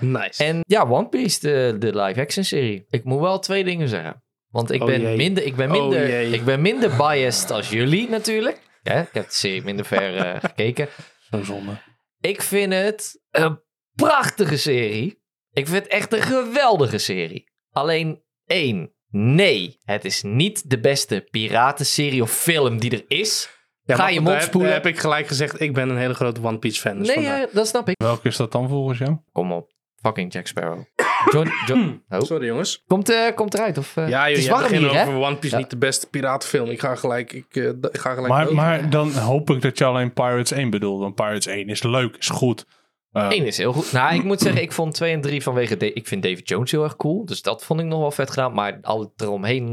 Nice. En ja, One Piece, de, de live-action serie. Ik moet wel twee dingen zeggen. Want ik Oh ben, jee. minder, ik ben, Oh minder, jee. ik ben minder biased als jullie natuurlijk. Ja, ik heb de serie minder ver eh, gekeken. Zo'n zonde. Ik vind het een prachtige serie. Ik vind het echt een geweldige serie. Alleen één. Nee, het is niet de beste piratenserie of film die er is. Ja, Ga maar je goed, mond daar heb- spoelen. daar Heb ik gelijk gezegd, ik ben een hele grote One Piece fan. Dus nee, vandaar. eh, dat snap ik. Welke is dat dan volgens jou? Kom op, fucking Jack Sparrow. John, John- oh. Sorry jongens. Komt, eh, komt eruit? Of, eh, Hmm. Ja, joh, het is jij warm begint hier, hè? over One Piece Ja. niet de beste piratenfilm. Ik ga gelijk, ik, eh, d- ik ga gelijk Maar, dood. maar dan hoop ik dat je alleen Pirates 1 bedoelt. Want Pirates 1 is leuk, is goed. Eh, Eén is heel goed. Nou, ik moet zeggen, ik vond 2 en 3 vanwege... Da- ik vind David Jones heel erg cool. Dus dat vond ik nog wel vet gedaan. Maar al eromheen,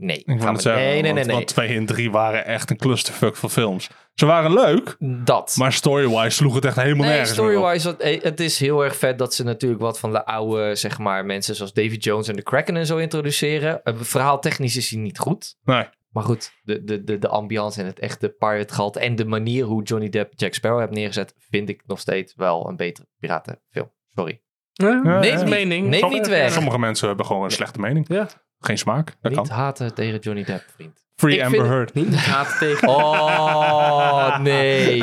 nee. ik Gaan wou het we- zeggen, nee, nee, nee, want, nee. want 2 en 3 waren echt een clusterfuck van films. Ze waren leuk, dat. maar story-wise sloeg het echt helemaal Nee, nergens meer op. story-wise, wat- eh, het is heel erg vet dat ze natuurlijk wat van de oude, zeg maar, mensen zoals David Jones en de Kraken en zo introduceren. Eh, Verhaal technisch is hij niet goed. Nee. Maar goed, de, de, de, de ambiance en het echte pirate gehalte en de manier hoe Johnny Depp Jack Sparrow hebt neergezet, vind ik nog steeds wel een betere piratenfilm. Sorry. Ja, Nee, dat is niet- mening. nee, Som- niet weg. Sommige mensen hebben gewoon een slechte mening. Ja. Geen smaak, dat niet kan. haten tegen Johnny Depp, vriend. Free Ik Amber vind- Heard. Niet haat tegen. Oh, nee.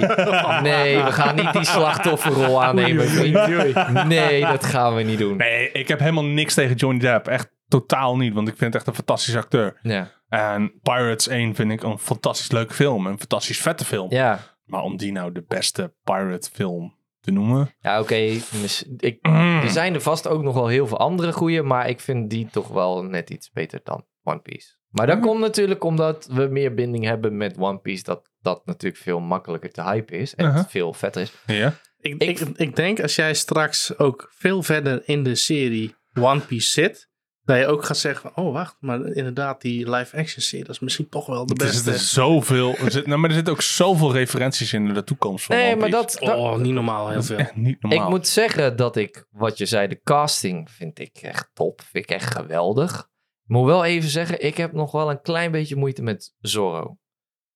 Nee, we gaan niet die slachtofferrol aannemen, vriend. Nee, dat gaan we niet doen. Nee, ik heb helemaal niks tegen Johnny Depp. Echt totaal niet, want ik vind het echt een fantastische acteur. Ja. En Pirates 1 vind ik een fantastisch leuke film. Een fantastisch vette film. ja. Maar om die nou de beste pirate film te noemen. Ja, oké. mis- ik- Er zijn er vast ook nog wel heel veel andere goede, maar ik vind die toch wel net iets beter dan One Piece. Maar dat komt natuurlijk omdat we meer binding hebben met One Piece, dat dat natuurlijk veel makkelijker te hype is en Uh-huh. veel vetter is. Ja. Ik, Ik- ik, ik denk als jij straks ook veel verder in de serie One Piece zit, dat je ook gaat zeggen: van, Oh, wacht, maar inderdaad, die live-action serie dat is misschien toch wel de Er zitten beste. zoveel. Er zit, nou, maar er zitten ook zoveel referenties in naar de toekomst van Nee, One maar Piece. dat... dat- Oh, niet normaal, heel Dat Nou, is veel. echt niet normaal. ik moet zeggen dat ik, wat je zei, de casting vind ik echt top. Vind ik echt geweldig. Ik moet wel even zeggen, ik heb nog wel een klein beetje moeite met Zorro.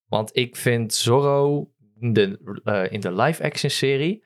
Want ik vind Zorro in de, eh, in de live-action serie...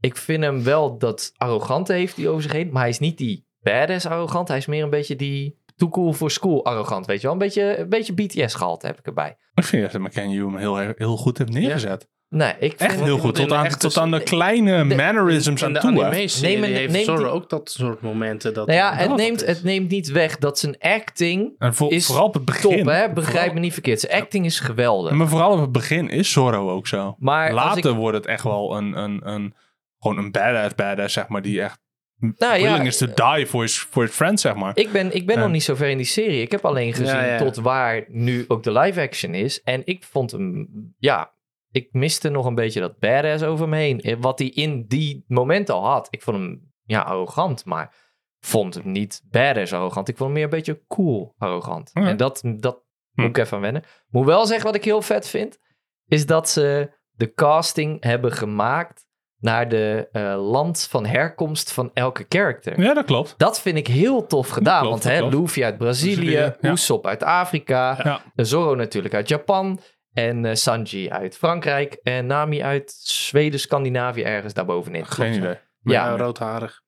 Ik vind hem wel dat arrogante heeft hij over zich heen. Maar hij is niet die badass arrogant. Hij is meer een beetje die too cool for school arrogant. Weet je wel, een beetje, een beetje BTS gehalte heb ik erbij. Ik vind echt dat McCann Hume heel, heel goed heeft neergezet. Nee, ik vind Echt hem- heel goed. Tot in de aan, echte- tot aan de kleine de- mannerisms In aan de toe. hè. anime-serie Neem een- heeft neem Zorro die- ook dat soort momenten. Dat Nou ja, dat het neemt, is. het neemt niet weg dat zijn acting En voor- is vooral op het begin. top, hè? Begrijp Vooral- me niet verkeerd. Zijn acting is geweldig. Maar vooral op het begin is Zorro ook zo. Maar als ik, Later wordt het echt wel een, een, een, gewoon een badass badass, zeg maar, die echt nou ja, willing is to die voor his, voor his friend, zeg maar. ik ben, ik ben Ja. nog niet zo ver in die serie. Ik heb alleen gezien Ja, ja. tot waar nu ook de live action is. En ik vond hem, ja, ik miste nog een beetje dat badass over hem heen. Eh, Wat hij in die momenten al had. Ik vond hem, ja, arrogant, maar vond hem niet badass arrogant. Ik vond hem meer een beetje cool arrogant. Ja. En dat, dat Hm. moet ik even aan wennen. Moet wel zeggen wat ik heel vet vind, is dat ze de casting hebben gemaakt naar de eh, land van herkomst van elke character. Ja, dat klopt. Dat vind ik heel tof gedaan. klopt, want dat hè, klopt. Luffy uit Brazilië, Brazilië, ja. Usopp uit Afrika, Ja. Zorro natuurlijk uit Japan en eh, Sanji uit Frankrijk en Nami uit Zweden, Scandinavië, ergens daarbovenin. Geen idee. Ja, Ja, roodharig.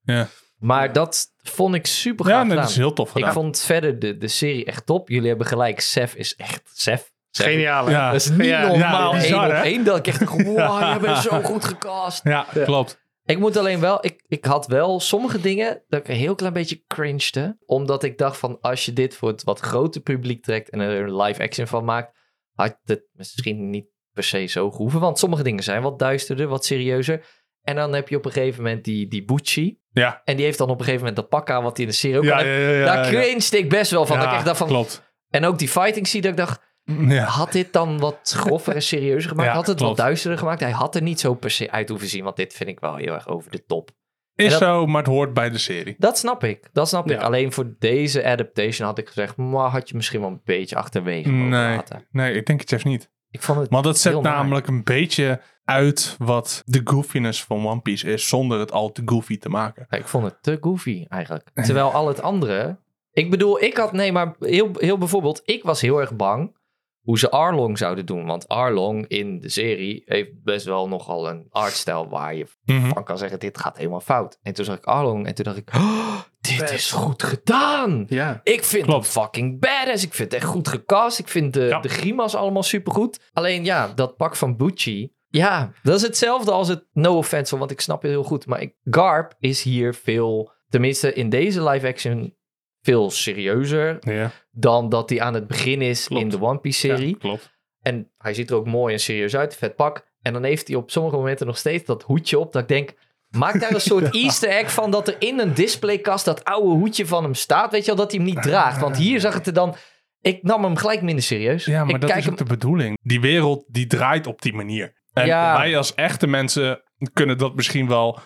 maar dat vond ik super gaaf Ja, nee, gedaan. dat is heel tof gedaan. Ik vond verder de, de serie echt top. Jullie hebben gelijk, Seth is echt Seth. Seth. Geniaal, hè? Ah. Ja. Dat is niet Ja, normaal ja, één bizar, op hè? één. Dat ik echt dacht, wow, je bent zo goed gecast. Ja, klopt. Ik moet alleen wel, ik, ik had wel sommige dingen dat ik een heel klein beetje cringede. Omdat ik dacht van, als je dit voor het wat grote publiek trekt en er een live action van maakt, had het misschien niet per se zo hoeven. Want sommige dingen zijn wat duisterder, wat serieuzer. En dan heb je op een gegeven moment die, die Bucci. Ja. En die heeft dan op een gegeven moment dat pak aan wat hij in de serie ook Ja, al ja, heeft. ja, ja, Daar ja. cringed ik best wel van. dat ik Ja, echt Mm. dacht van, Klopt. en ook die fighting zie dat ik dacht, Ja. had dit dan wat grover en serieuzer gemaakt? Ja, had het klopt. wat duisterder gemaakt? Hij had er niet zo per se uit hoeven zien, want dit vind ik wel heel erg over de top. Is dat- zo, maar het hoort bij de serie. Dat snap ik. Dat snap ik. Ja. Alleen voor deze adaptation had ik gezegd, maar had je misschien wel een beetje achterwege mogen Nee. laten. Nee, ik denk het juist niet. Ik vond het. Want dat zet Heel naar. namelijk een beetje uit wat de goofiness van One Piece is, zonder het al te goofy te maken. Ik vond het te goofy eigenlijk. Terwijl al het andere. Ik bedoel, ik had. Nee, maar heel, heel bijvoorbeeld. Ik was heel erg bang hoe ze Arlong zouden doen. Want Arlong in de serie heeft best wel nogal een artstijl waar je Mhm. van kan zeggen: dit gaat helemaal fout. En toen zag ik Arlong en toen dacht ik: "Oh, dit is goed gedaan. Ja. Ik vind Klopt. het fucking badass. Ik vind het echt goed gecast. Ik vind de, Ja. de grimas allemaal supergoed. Alleen ja, dat pak van Bucci. Ja, dat is hetzelfde als het no offense, hoor, want ik snap het heel goed. Maar ik, Garp is hier veel, tenminste in deze live action, veel serieuzer Ja, dan dat hij aan het begin is Klopt. in de One Piece Ja, serie. klopt. En hij ziet er ook mooi en serieus uit, vet pak. En dan heeft hij op sommige momenten nog steeds dat hoedje op dat ik denk... Maak daar een soort easter egg van dat er in een displaykast dat oude hoedje van hem staat. Weet je wel, dat hij hem niet draagt. Want hier zag het er dan... Ik nam hem gelijk minder serieus. Ja, maar ik dat kijk is hem ook de bedoeling. Die wereld die draait op die manier. En Ja. wij als echte mensen kunnen dat misschien wel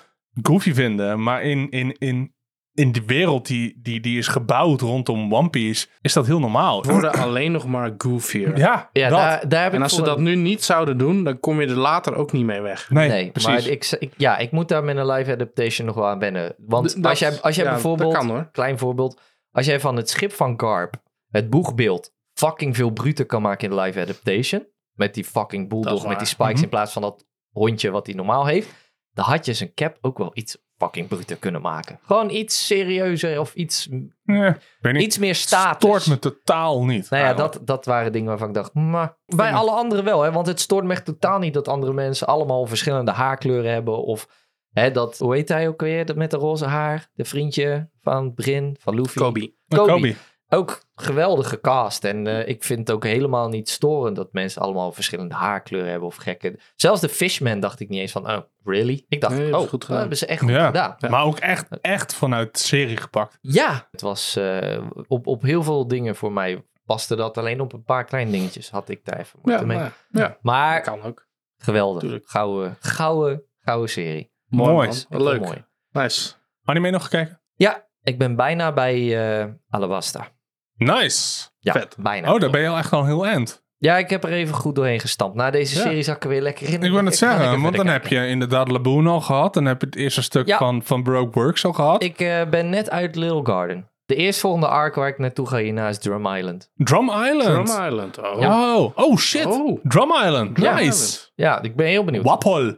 goofy vinden. Maar in, in, in, in de wereld die, die, die is gebouwd rondom One Piece, is dat heel normaal. Worden alleen nog maar goofier. Ja, Ja, dat. daar, daar heb En ik als ze voor- dat nu niet zouden doen, dan kom je er later ook niet mee weg. Nee, Nee, precies. maar ik, ik- ja, ik moet daar met een live adaptation nog wel aan wennen. Want D- dat- als jij, als jij ja, bijvoorbeeld, Dat kan hoor. klein voorbeeld, als jij van het schip van Garp het boegbeeld fucking veel bruter kan maken in live adaptation, met die fucking Dat is bulldog, waar. met die spikes Mhm. in plaats van dat hondje wat hij normaal heeft, dan had je zijn cap ook wel iets fucking bruter kunnen maken. Gewoon iets serieuzer of iets, Nee, ik weet niet. iets meer status. stoort me totaal niet. Nou ja, eigenlijk. dat, dat waren dingen waarvan ik dacht, maar bij alle anderen wel, hè? want het stoort me echt totaal niet dat andere mensen allemaal verschillende haarkleuren hebben. Of hè, dat, hoe heet hij ook weer, dat met de roze haar, de vriendje van Brin, van Luffy. Kobe. Kobe. Kobe. Ook geweldige cast en eh, ik vind het ook helemaal niet storend dat mensen allemaal verschillende haarkleuren hebben of gekke. Zelfs de Fishman dacht ik niet eens van, oh, really? Ik dacht, Nee, dat is oh, goed goed gedaan. hebben ze echt goed Ja. gedaan. Maar ook echt, echt vanuit de serie gepakt. Ja, het was eh, op, op heel veel dingen voor mij paste dat. Alleen op een paar kleine dingetjes had ik daar even moeite Ja, mee. maar- ja, dat Maar kan ook. geweldig. Tuurlijk. Gouden, gouden, gouden serie. Mooi. Mooi. man. Wat Heel Leuk. Mooi. Nice. Anime nog gekeken? Ja, ik ben bijna bij eh Alabasta. Nice. Ja, Vet. bijna. Oh, daar ben je al echt al heel end. Ja, ik heb er even goed doorheen gestampt. Na deze Ja. serie zak ik er weer lekker in. Ik wil het ga lekker zeggen, want verder dan heb kijken. je inderdaad Laboon al gehad. Dan heb je het eerste stuk Ja. van, van Broke Works al gehad. Ik eh, ben net uit Little Garden. De eerstvolgende arc waar ik naartoe ga hierna is Drum Island. Drum Island. Drum Island. Oh. Oh, oh shit. Oh. Drum Island. Drum nice. Island. Ja, ik ben heel benieuwd. Wappel.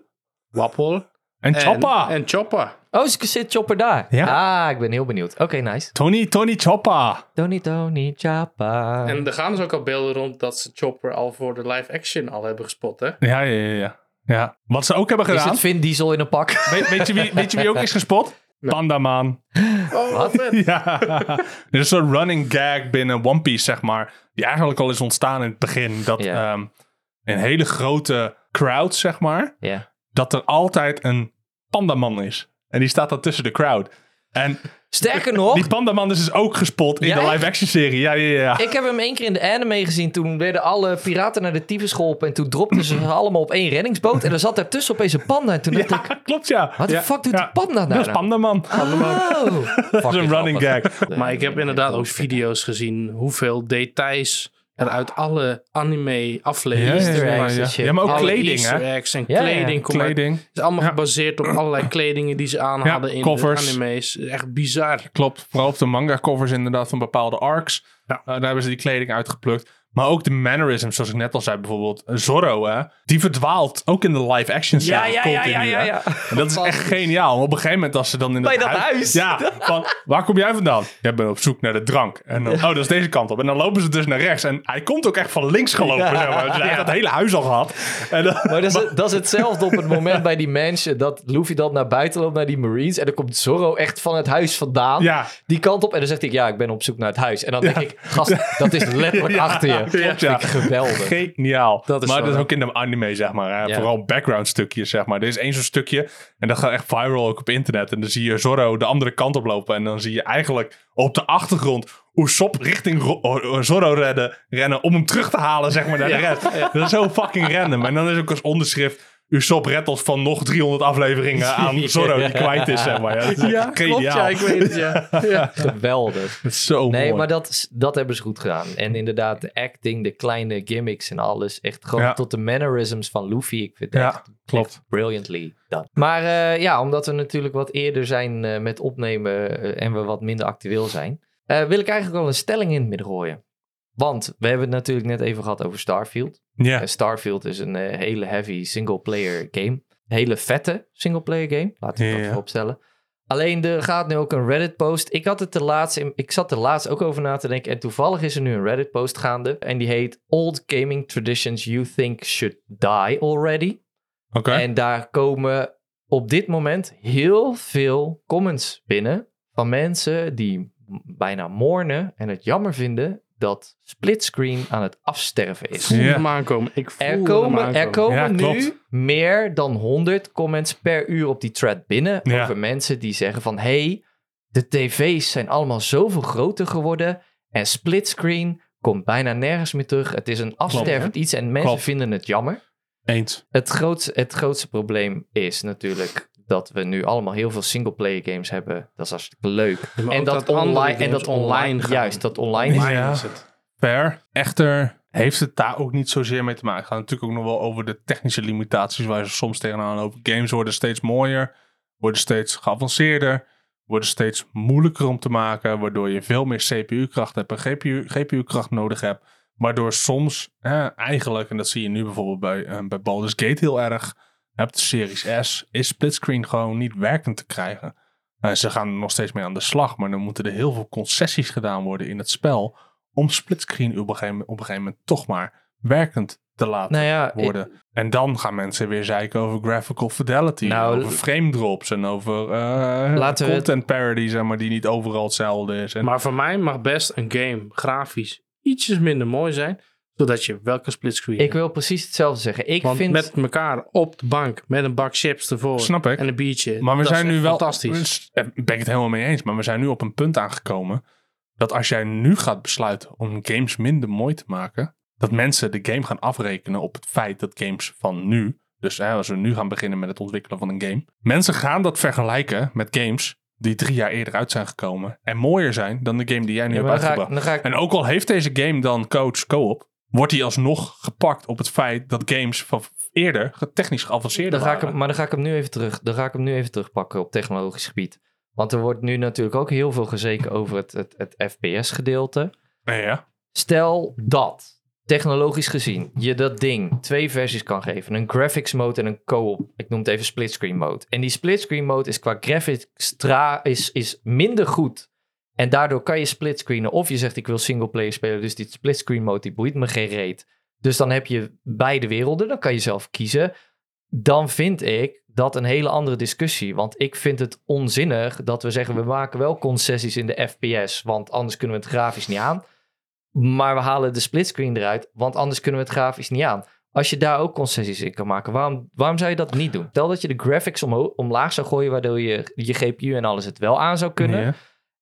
Wappel. En Choppa. En Choppa. Oh, ze zit Chopper daar. Ja. Ah, ik ben heel benieuwd. Oké, nice. Tony, Tony Choppa. Tony, Tony, Choppa. En er gaan dus ook al beelden rond dat ze Chopper al voor de live action al hebben gespot, hè? Ja, ja, ja, ja. ja. Wat ze ook hebben Is gedaan. het Vin Diesel in een pak? weet, weet je wie, weet je wie ook is gespot? Pandaman. Oh, wat vet. Ja. Er is een running gag binnen One Piece, zeg maar. Die eigenlijk al is ontstaan in het begin. Dat Ja. ehm, een hele grote crowd, zeg maar. Ja. dat er altijd een pandaman is. En die staat dan tussen de crowd. En Sterker nog, die pandaman is dus ook gespot in Ja, de echt? live-action serie. Ja, ja, ja. Ik heb hem één keer in de anime gezien. Toen werden alle piraten naar de tyfus geholpen. En toen dropten ze allemaal op één reddingsboot. En er zat daartussen opeens een panda. En toen dacht ik, Ja, klopt, ja. wat de Ja, fuck doet ja. die panda nou? Dat is pandaman. Oh. Dat is een running gag. Maar ik heb inderdaad ook video's gezien hoeveel details er uit alle anime-afleveringen Ja, ja, ja, ja, ja. Ja, maar ook Alle kleding, Easter hè? eggs en Ja, ja, ja. kleding. komt uit. Kleding. Het is allemaal Ja. gebaseerd op allerlei kledingen die ze aan Ja, hadden in covers. de anime's. Echt bizar. Klopt. Vooral op de manga-covers inderdaad van bepaalde arcs. Ja. Uh, daar hebben ze die kleding uitgeplukt. Maar ook de mannerisms, zoals ik net al zei bijvoorbeeld. Zorro, hè. Die verdwaalt ook in de live-action serie. continu, hè. En dat is echt geniaal. Want op een gegeven moment als ze dan in Bij dat huis. Ja, van waar kom jij vandaan? Jij bent op zoek naar de drank. En dan, oh, dat is deze kant op. En dan lopen ze dus naar rechts. En hij komt ook echt van links gelopen. zeg maar. Dus hij heeft dat hele huis al gehad. En dan, Maar dat is, dat is hetzelfde op het moment bij die mensen dat Luffy dan naar buiten loopt, naar die Marines. En dan komt Zorro echt van het huis vandaan. Ja. Die kant op. En dan zegt hij, ja, ik ben op zoek naar het huis. En dan denk ik, gast, dat is letterlijk achter je. klopt, ja. Vind ik geweldig. Geniaal. Dat is maar zo dat is leuk. ook in de anime, zeg maar. hè. Ja. Vooral background stukjes, zeg maar. Er is één zo'n stukje en dat gaat echt viral ook op internet. En dan zie je Zorro de andere kant op lopen. En dan zie je eigenlijk op de achtergrond Usopp richting Ro- o- o- Zorro redden, rennen om hem terug te halen, zeg maar, naar de rest. Dat is zo fucking random. En dan is ook als onderschrift Usopp redt ons van nog 300 afleveringen aan Zorro die kwijt is, zeg maar. Ja, dat is echt geniaal. weet het, ja. ja. Geweldig. Dat is zo Nee, mooi. maar dat, is- dat hebben ze goed gedaan. En inderdaad, de acting, de kleine gimmicks en alles. Echt gewoon Ja. tot de mannerisms van Luffy. Ik vind het Ja, echt, klopt. echt brilliantly done. Maar eh, ja, omdat we natuurlijk wat eerder zijn eh, met opnemen eh, en we wat minder actueel zijn, eh, wil ik eigenlijk al een stelling in het midden gooien. Want we hebben het natuurlijk net even gehad over Starfield. Ja. En Eh, Starfield is een eh, hele heavy single-player game. Hele vette single-player game. Laten we Ja. dat vooropstellen. Alleen er gaat nu ook een Reddit-post. Ik, had het de laatste, in- ik zat er laatst ook over na te denken. En toevallig is er nu een Reddit-post gaande. En die heet Old Gaming Traditions You Think Should Die Already. Oké. En daar komen op dit moment heel veel comments binnen van mensen die m- bijna mournen en het jammer vinden dat splitscreen aan het afsterven is. voel Ja. hem aankomen. Ik voel Er hem komen, aankomen. er komen Ja, nu klopt. meer dan 100 comments per uur op die thread binnen. Ja. Over mensen die zeggen van... hey, de tv's zijn allemaal zoveel groter geworden... en splitscreen komt bijna nergens meer terug. Het is een afstervend iets en mensen Klopt. vinden het jammer. Eens. Het grootste, het grootste probleem is natuurlijk... dat we nu allemaal heel veel singleplayer games hebben. Dat is hartstikke leuk. Ja, maar en ook dat, andere online, en games dat online... gaan. juist, dat online is... Online Ja. is het. Fair. Echter heeft het daar ook niet zozeer mee te maken. Het gaat natuurlijk ook nog wel over de technische limitaties waar ze soms tegenaan lopen. Games worden steeds mooier, worden steeds geavanceerder, worden steeds moeilijker om te maken, waardoor je veel meer CPU-kracht hebt en GPU GPU-kracht nodig hebt. Waardoor soms eh, eigenlijk, en dat zie je nu bijvoorbeeld bij, eh, bij Baldur's Gate heel erg, heb de Series S, is splitscreen gewoon niet werkend te krijgen. En ze gaan er nog steeds mee aan de slag, maar dan moeten er heel veel concessies gedaan worden in het spel om splitscreen op een gegeven, op een gegeven moment toch maar werkend te laten Nou ja, worden. En dan gaan mensen weer zeiken over graphical fidelity, Nou, over frame drops en over eh, Laten we het- content parody, zeg maar, die niet overal hetzelfde is. En Maar voor mij mag best een game grafisch ietsjes minder mooi zijn, zodat je welke splitscreen. ik wil precies hetzelfde zeggen. Ik Want vind... met elkaar op de bank, met een bak chips ervoor snap ik. en een biertje. maar we dat is zijn nu echt wel. fantastisch. Daar ben ik het helemaal mee eens. Maar we zijn nu op een punt aangekomen. Dat als jij nu gaat besluiten om games minder mooi te maken. Dat mensen de game gaan afrekenen op het feit dat games van nu. Dus hè, als we nu gaan beginnen met het ontwikkelen van een game. Mensen gaan dat vergelijken met games die drie jaar eerder uit zijn gekomen. En mooier zijn dan de game die jij nu Ja, hebt maar dan ga ik- uitgebracht. dan ga ik En ook al heeft deze game dan coach co-op. Wordt hij alsnog gepakt op het feit dat games van eerder ge- technisch geavanceerder Dan ga ik waren. hem, maar dan ga ik hem nu even terug. Dan ga ik hem nu even terugpakken op technologisch gebied. Want er wordt nu natuurlijk ook heel veel gezeken over het, het, het FPS-gedeelte. Ja, Stel dat, technologisch gezien, je dat ding twee versies kan geven. Een graphics mode en een co-op. Ik noem het even splitscreen mode. En die splitscreen mode is qua graphics tra- is, is minder goed. En daardoor kan je splitscreenen. Of je zegt ik wil singleplayer spelen, dus die splitscreen mode die boeit me geen reet. Dus dan heb je beide werelden, dan kan je zelf kiezen. Dan vind ik dat een hele andere discussie. Want ik vind het onzinnig dat we zeggen we maken wel concessies in de FPS. Want anders kunnen we het grafisch niet aan. Maar we halen de splitscreen eruit, want anders kunnen we het grafisch niet aan. Als je daar ook concessies in kan maken, waarom, waarom zou je dat niet doen? Stel dat je de graphics omho- omlaag zou gooien, waardoor je je GPU en alles het wel aan zou kunnen. Ja.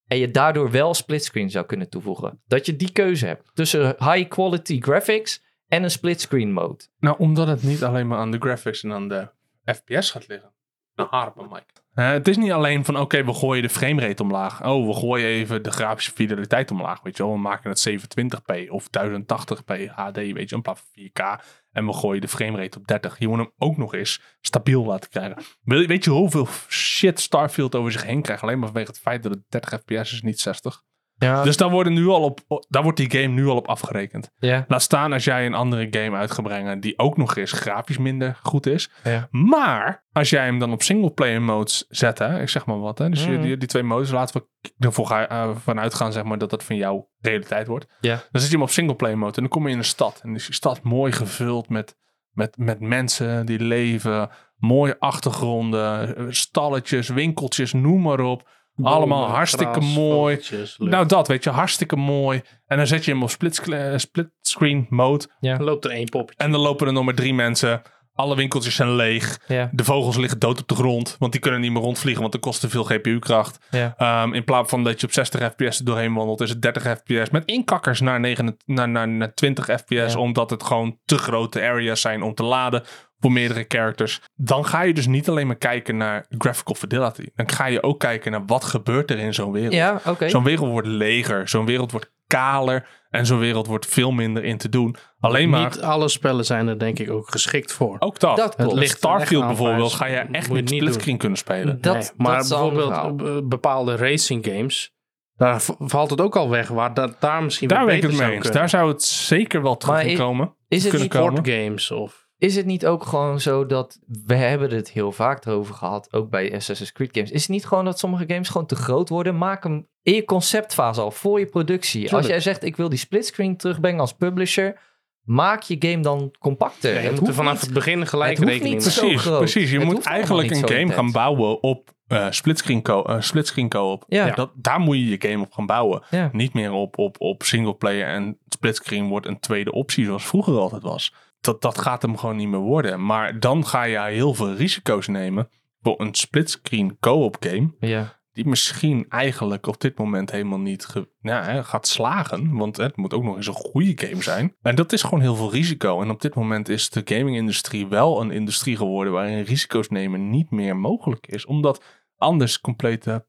En je daardoor wel splitscreen zou kunnen toevoegen. Dat je die keuze hebt tussen high quality graphics en een splitscreen mode. Nou, omdat het niet alleen maar aan de graphics en aan de FPS gaat liggen. Nou, harpen, Mike. het is niet alleen van, oké, we gooien de framerate omlaag. Oh, we gooien even de grafische fideliteit omlaag, weet je wel. We maken het 720p of 1080p HD, weet je, in plaats van 4K. En we gooien de framerate op 30. Je moet hem ook nog eens stabiel laten krijgen. Wil- Weet je hoeveel shit Starfield over zich heen krijgt? Alleen maar vanwege het feit dat het 30 fps is, niet 60. Ja, Dus daar, worden nu al op, daar wordt die game nu al op afgerekend. ja. Laat staan als jij een andere game uit gaat brengen die ook nog eens grafisch minder goed is. Ja. Maar als jij hem dan op singleplayer modes zet, hè, ik zeg maar wat, hè, dus je- Mhm. die, die twee modes, laten we k- ervoor ga, eh, vanuit gaan zeg maar, dat dat van jou realiteit wordt. Ja. Dan zet je hem op singleplayer mode en dan kom je in een stad. En is die stad mooi gevuld met, met, met mensen die leven, mooie achtergronden, eh, stalletjes, winkeltjes, noem maar op. allemaal hartstikke mooi. Nou Nou, dat, weet je, hartstikke mooi. En dan zet je hem op split, eh, splitscreen mode. dan loopt er één poppetje. En dan lopen er nog maar drie mensen. Alle winkeltjes zijn leeg. Ja. De vogels liggen dood op de grond. Want die kunnen niet meer rondvliegen, want dat kost te veel GPU-kracht. Ja. Ehm, in plaats van dat je op 60 fps er doorheen wandelt, is het 30 fps. Met inkakkers naar, 9, naar, naar, naar 20 fps. Ja. Omdat het gewoon te grote areas zijn om te laden. Voor meerdere characters. Dan ga je dus niet alleen maar kijken naar graphical fidelity. Dan ga je ook kijken naar wat gebeurt er in zo'n wereld. Ja, oké. Zo'n wereld wordt leger. Zo'n wereld wordt kaler. En zo'n wereld wordt veel minder in te doen. Alleen maar... Niet alle spellen zijn er denk ik ook geschikt voor. Ook dat. Dat klopt. Ligt Starfield Echt aan bijvoorbeeld ga vijf. je echt Moet je niet niet splitscreen kunnen spelen. Dat- Nee, maar dat is een ander bijvoorbeeld eh, bepaalde racing games, daar v- valt het ook al weg, waar dat daar misschien Daar wat ben ik beter het mee zou eens. kunnen. Daar zou het zeker wel terug Maar in i- komen. is, het kunnen niet, komen. Board games of is het niet ook gewoon zo dat we hebben het heel vaak erover gehad, ook bij Assassin's Creed games. Is het niet gewoon dat sommige games gewoon te groot worden? Maak hem in je conceptfase al, voor je productie. Als Tuurlijk. jij zegt ik wil die splitscreen terugbrengen als publisher, Maak je game dan compacter. Ja, je Het moet er hoeft vanaf niet- het begin gelijk het hoeft rekening niet mee. zo Precies, groot. precies. Je Het moet hoeft allemaal eigenlijk niet een zo game gaan intens. bouwen op eh splitscreen co- eh, splitscreen co-op. Ja. Dat, daar moet je je game op gaan bouwen. Ja. Niet meer op, op, op singleplayer en splitscreen wordt een tweede optie zoals vroeger altijd was. Dat, dat gaat hem gewoon niet meer worden. Maar dan ga je heel veel risico's nemen voor een splitscreen co-op game Ja. die misschien eigenlijk op dit moment helemaal niet ge- nou, hè, gaat slagen. Want hè, het moet ook nog eens een goede game zijn. En dat is gewoon heel veel risico. En op dit moment is de gaming-industrie wel een industrie geworden waarin risico's nemen niet meer mogelijk is. Omdat anders complete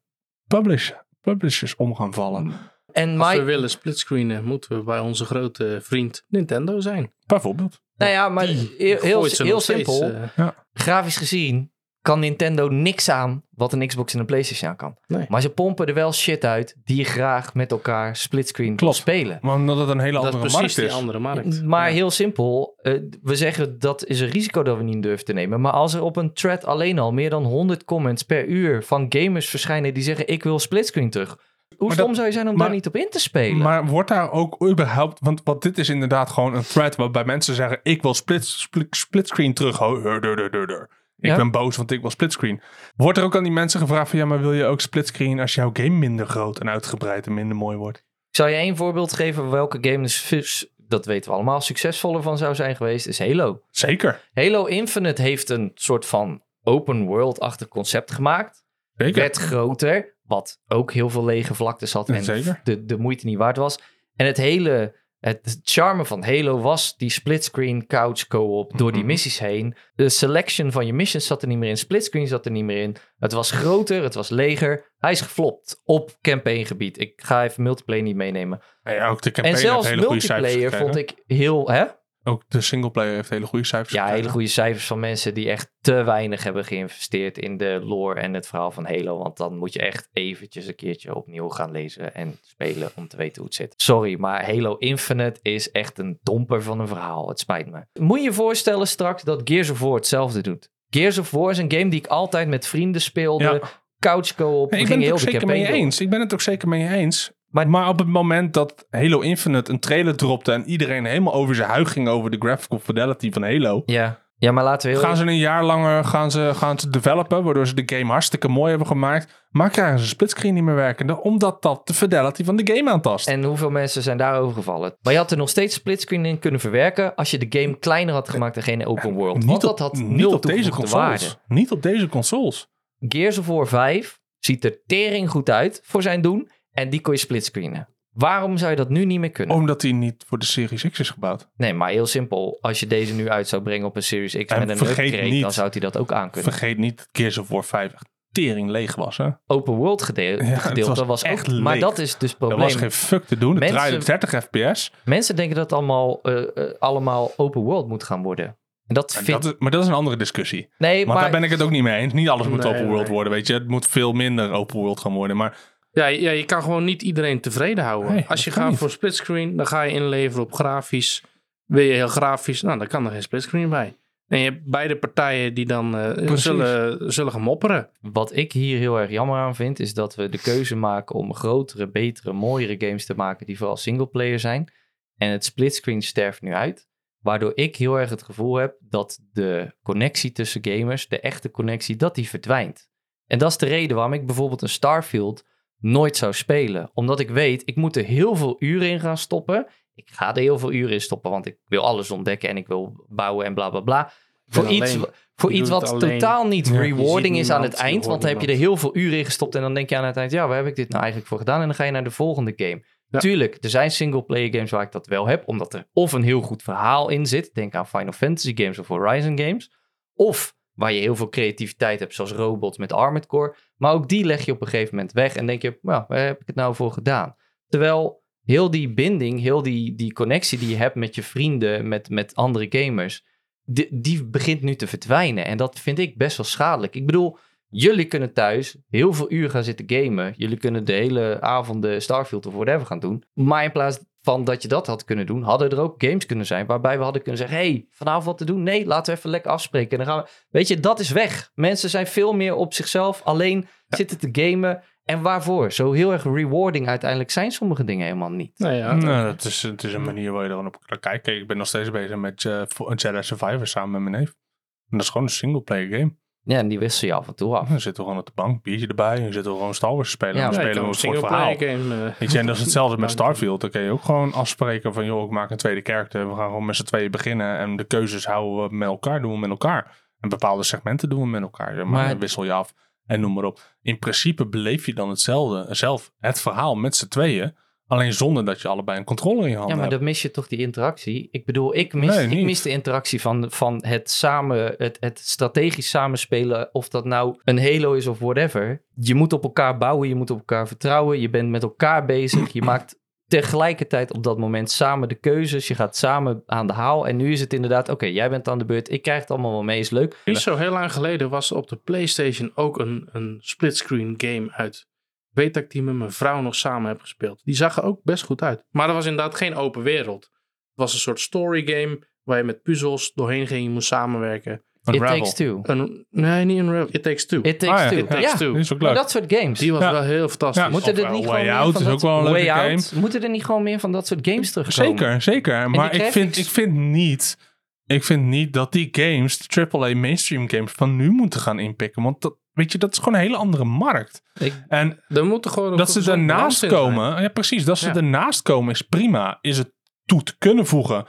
publish- publishers om gaan Mm. vallen. En Als we maar, willen splitscreenen, moeten we bij onze grote vriend Nintendo zijn. Bijvoorbeeld. nou ja, maar heel, heel, Gooit ze heel nog steeds, simpel. eh, grafisch gezien kan Nintendo niks aan wat een Xbox en een PlayStation aan kan. Nee. Maar ze pompen er wel shit uit die je graag met elkaar splitscreen Klopt. spelen. Maar omdat het een hele dat is andere precies markt die is. andere markt. Maar Ja. heel simpel, eh, we zeggen dat is een risico dat we niet durven te nemen. Maar als er op een thread alleen al meer dan 100 comments per uur van gamers verschijnen die zeggen ik wil splitscreen terug. Hoe Maar stom dat- zou je zijn om maar- daar niet op in te spelen? Maar wordt daar ook überhaupt... Want, want dit is inderdaad gewoon een thread waarbij mensen zeggen... ik wil split, split, splitscreen terug. Ho- hur, dur, dur, dur, dur. Ik Ja. ben boos, want ik wil splitscreen. Wordt er ook aan die mensen gevraagd van... ja, maar wil je ook splitscreen als jouw game minder groot en uitgebreid en minder mooi wordt? Ik zal je één voorbeeld geven welke game dus, vis- dat weten we allemaal, succesvoller van zou zijn geweest, is Halo. Zeker. Halo Infinite heeft een soort van open world-achtig concept gemaakt. Zeker. Werd groter, wat ook heel veel lege vlaktes had Ja, en zeker. De, de moeite niet waard was. En het hele het charme van Halo was die splitscreen couch co-op door die Mhm. missies heen. De selection van je missions zat er niet meer in, splitscreen zat er niet meer in. Het was groter, het was leger. Hij is geflopt op campaigngebied. Ik ga even multiplayer niet meenemen. En ja, ook de campaign En zelfs heeft hele goede cijfers multiplayer gekregen. vond ik heel... Hè? Ook de singleplayer heeft hele goede cijfers Ja, gekregen. hele goede cijfers van mensen die echt te weinig hebben geïnvesteerd in de lore en het verhaal van Halo. Want dan moet je echt eventjes een keertje opnieuw gaan lezen en spelen om te weten hoe het zit. Sorry, maar Halo Infinite is echt een domper van een verhaal. Het spijt me. Moet je je voorstellen straks dat Gears of War hetzelfde doet? Gears of War is een game die ik altijd met vrienden speelde. Ja. Couch co-op. Nee, we ik ben gingen het heel ook de zeker mee campaign door. eens. Ik ben het ook zeker mee eens. Maar- Maar, op het moment dat Halo Infinite een trailer dropte... en iedereen helemaal over zijn huig ging over de graphical fidelity van Halo... Ja. ja, maar laten we heel Gaan ze een jaar langer gaan ze, gaan ze developen, waardoor ze de game hartstikke mooi hebben gemaakt. Maar krijgen ze splitscreen niet meer werkende, omdat dat de fidelity van de game aantast. En hoeveel mensen zijn daarover gevallen? Maar je had er nog steeds splitscreen in kunnen verwerken als je de game kleiner had gemaakt en geen open world. Want dat had Mm. niet nul op deze toegevoegde waarde. consoles. Niet op deze consoles. Gears of War 5 ziet er tering goed uit voor zijn doen en die kon je splitscreenen. Waarom zou je dat nu niet meer kunnen? Omdat die niet voor de Series X is gebouwd. Nee, maar heel simpel. Als je deze nu uit zou brengen op een Series X En met een vergeet upgrade, niet- dan zou hij dat ook aan kunnen. Vergeet niet dat Gears of War 5 echt tering leeg was. Hè? Open world gedeelte, Ja, het gedeelte was, was echt ook... Maar leeg. dat is dus het Er probleem. was geen fuck te doen. Het Mensen- draaide 30 fps. Mensen denken dat het allemaal, eh, eh, allemaal open world moet gaan worden. En dat En vind dat is- maar dat is een andere discussie. Nee, Want maar... daar ben ik het ook niet mee eens. Niet alles moet Nee, open world nee. worden. Weet je. Het moet veel minder open world gaan worden. Maar Ja, ja, je kan gewoon niet iedereen tevreden houden. Nee, Als je dat kan gaat niet. voor splitscreen, dan ga je inleveren op grafisch. Wil je heel grafisch, nou, dan kan er geen splitscreen bij. En je hebt beide partijen die dan eh, Precies. zullen, zullen gaan mopperen. Wat ik hier heel erg jammer aan vind, is dat we de keuze maken om grotere, betere, mooiere games te maken die vooral singleplayer zijn. En het splitscreen sterft nu uit. Waardoor ik heel erg het gevoel heb dat de connectie tussen gamers, de echte connectie, dat die verdwijnt. En dat is de reden waarom ik bijvoorbeeld een Starfield nooit zou spelen. Omdat ik weet, ik moet er heel veel uren in gaan stoppen. Ik ga er heel veel uren in stoppen, want ik wil alles ontdekken en ik wil bouwen en bla bla bla. Voor ben iets, alleen. voor Je iets doet wat het alleen. totaal niet Ja. rewarding Je ziet is aan het niemand, je eind. hoort Want dan heb je er heel veel uren in gestopt. En dan denk je aan het eind, ja, waar heb ik dit nou eigenlijk voor gedaan? En dan ga je naar de volgende game. Ja. Tuurlijk, er zijn single-player games waar ik dat wel heb. Omdat er of een heel goed verhaal in zit. Denk aan Final Fantasy games of Horizon games. Of waar je heel veel creativiteit hebt, zoals robots met Armored Core. Maar ook die leg je op een gegeven moment weg. En denk je, nou, waar heb ik het nou voor gedaan? Terwijl heel die binding, heel die, die connectie die je hebt met je vrienden, met, met andere gamers die, die begint nu te verdwijnen. En dat vind ik best wel schadelijk. Ik bedoel, jullie kunnen thuis heel veel uur gaan zitten gamen. Jullie kunnen de hele avonden Starfield of whatever gaan doen. Maar in plaats van dat je dat had kunnen doen, hadden er ook games kunnen zijn waarbij we hadden kunnen zeggen: hey, vanavond wat te doen? Nee, laten we even lekker afspreken. En dan gaan we. Weet je, dat is weg. Mensen zijn veel meer op zichzelf alleen zitten te gamen. En waarvoor? Zo heel erg rewarding uiteindelijk zijn sommige dingen helemaal niet. Nou ja, Nou, het is, het is een manier waar je er gewoon op kan kijken. Kijk, Ik ben nog steeds bezig met eh, voor- Jedi Survivor samen met mijn neef. En dat is gewoon een singleplayer game. Oh, Ja, en die wissel je af en toe af. Dan zitten we gewoon op de bank, biertje erbij. En dan zitten we gewoon Star Wars te spelen. Ja, en Ja, dan je spelen kan we een het voor het verhaal. singleplayer game. eh, Weet je, en dat is hetzelfde met Bank. Starfield. Dan kun je ook gewoon afspreken van... joh, ik maak een tweede karakter. We gaan gewoon met z'n tweeën beginnen. En de keuzes houden we met elkaar, doen we met elkaar. En bepaalde segmenten doen we met elkaar. Maar, Maar- dan wissel je af en noem maar op. In principe beleef je dan hetzelfde zelf. Het verhaal met z'n tweeën. Alleen zonder dat je allebei een controller in je Ja, handen maar hebt. dan mis je toch die interactie. Ik bedoel, ik mis, Nee, ik niet. mis de interactie van, van het, samen, het, het strategisch samenspelen. Of dat nou een Halo is of whatever. Je moet op elkaar bouwen, je moet op elkaar vertrouwen. Je bent met elkaar bezig. Je maakt tegelijkertijd op dat moment samen de keuzes. Je gaat samen aan de haal. En nu is het inderdaad, oké, jij bent aan de beurt. Ik krijg het allemaal wel mee, is leuk. Niet zo heel lang geleden was op de PlayStation ook een, een splitscreen game uit. Ik weet dat ik die met mijn vrouw nog samen heb gespeeld. Die zag er ook best goed uit. Maar dat was inderdaad geen open wereld. Het was een soort story game waar je met puzzels doorheen ging. Je moest samenwerken. It Unravel. takes two. Een, nee, niet Unravel. It Takes Two. It takes Ah, ja. two. It Takes ja, Two. Die is ook maar leuk. dat soort games. die was Ja. wel heel fantastisch. Ja, Moeten er Of, niet uh, gewoon Way meer Out van is dat- ook wel een leuke Way game. Out. Moeten er niet gewoon meer van dat soort games terugkomen? Zeker, zeker. Maar ik vind, graphics. ik vind niet... Ik vind niet dat die games, de AAA mainstream games, van nu moeten gaan inpikken. Want dat, weet je, dat is gewoon een hele andere markt. Ik- En Er moeten gewoon een dat ze gezonde balans ernaast in zijn. komen. Ja, precies. Dat ze Ja. ernaast komen is prima. Is het toe te kunnen voegen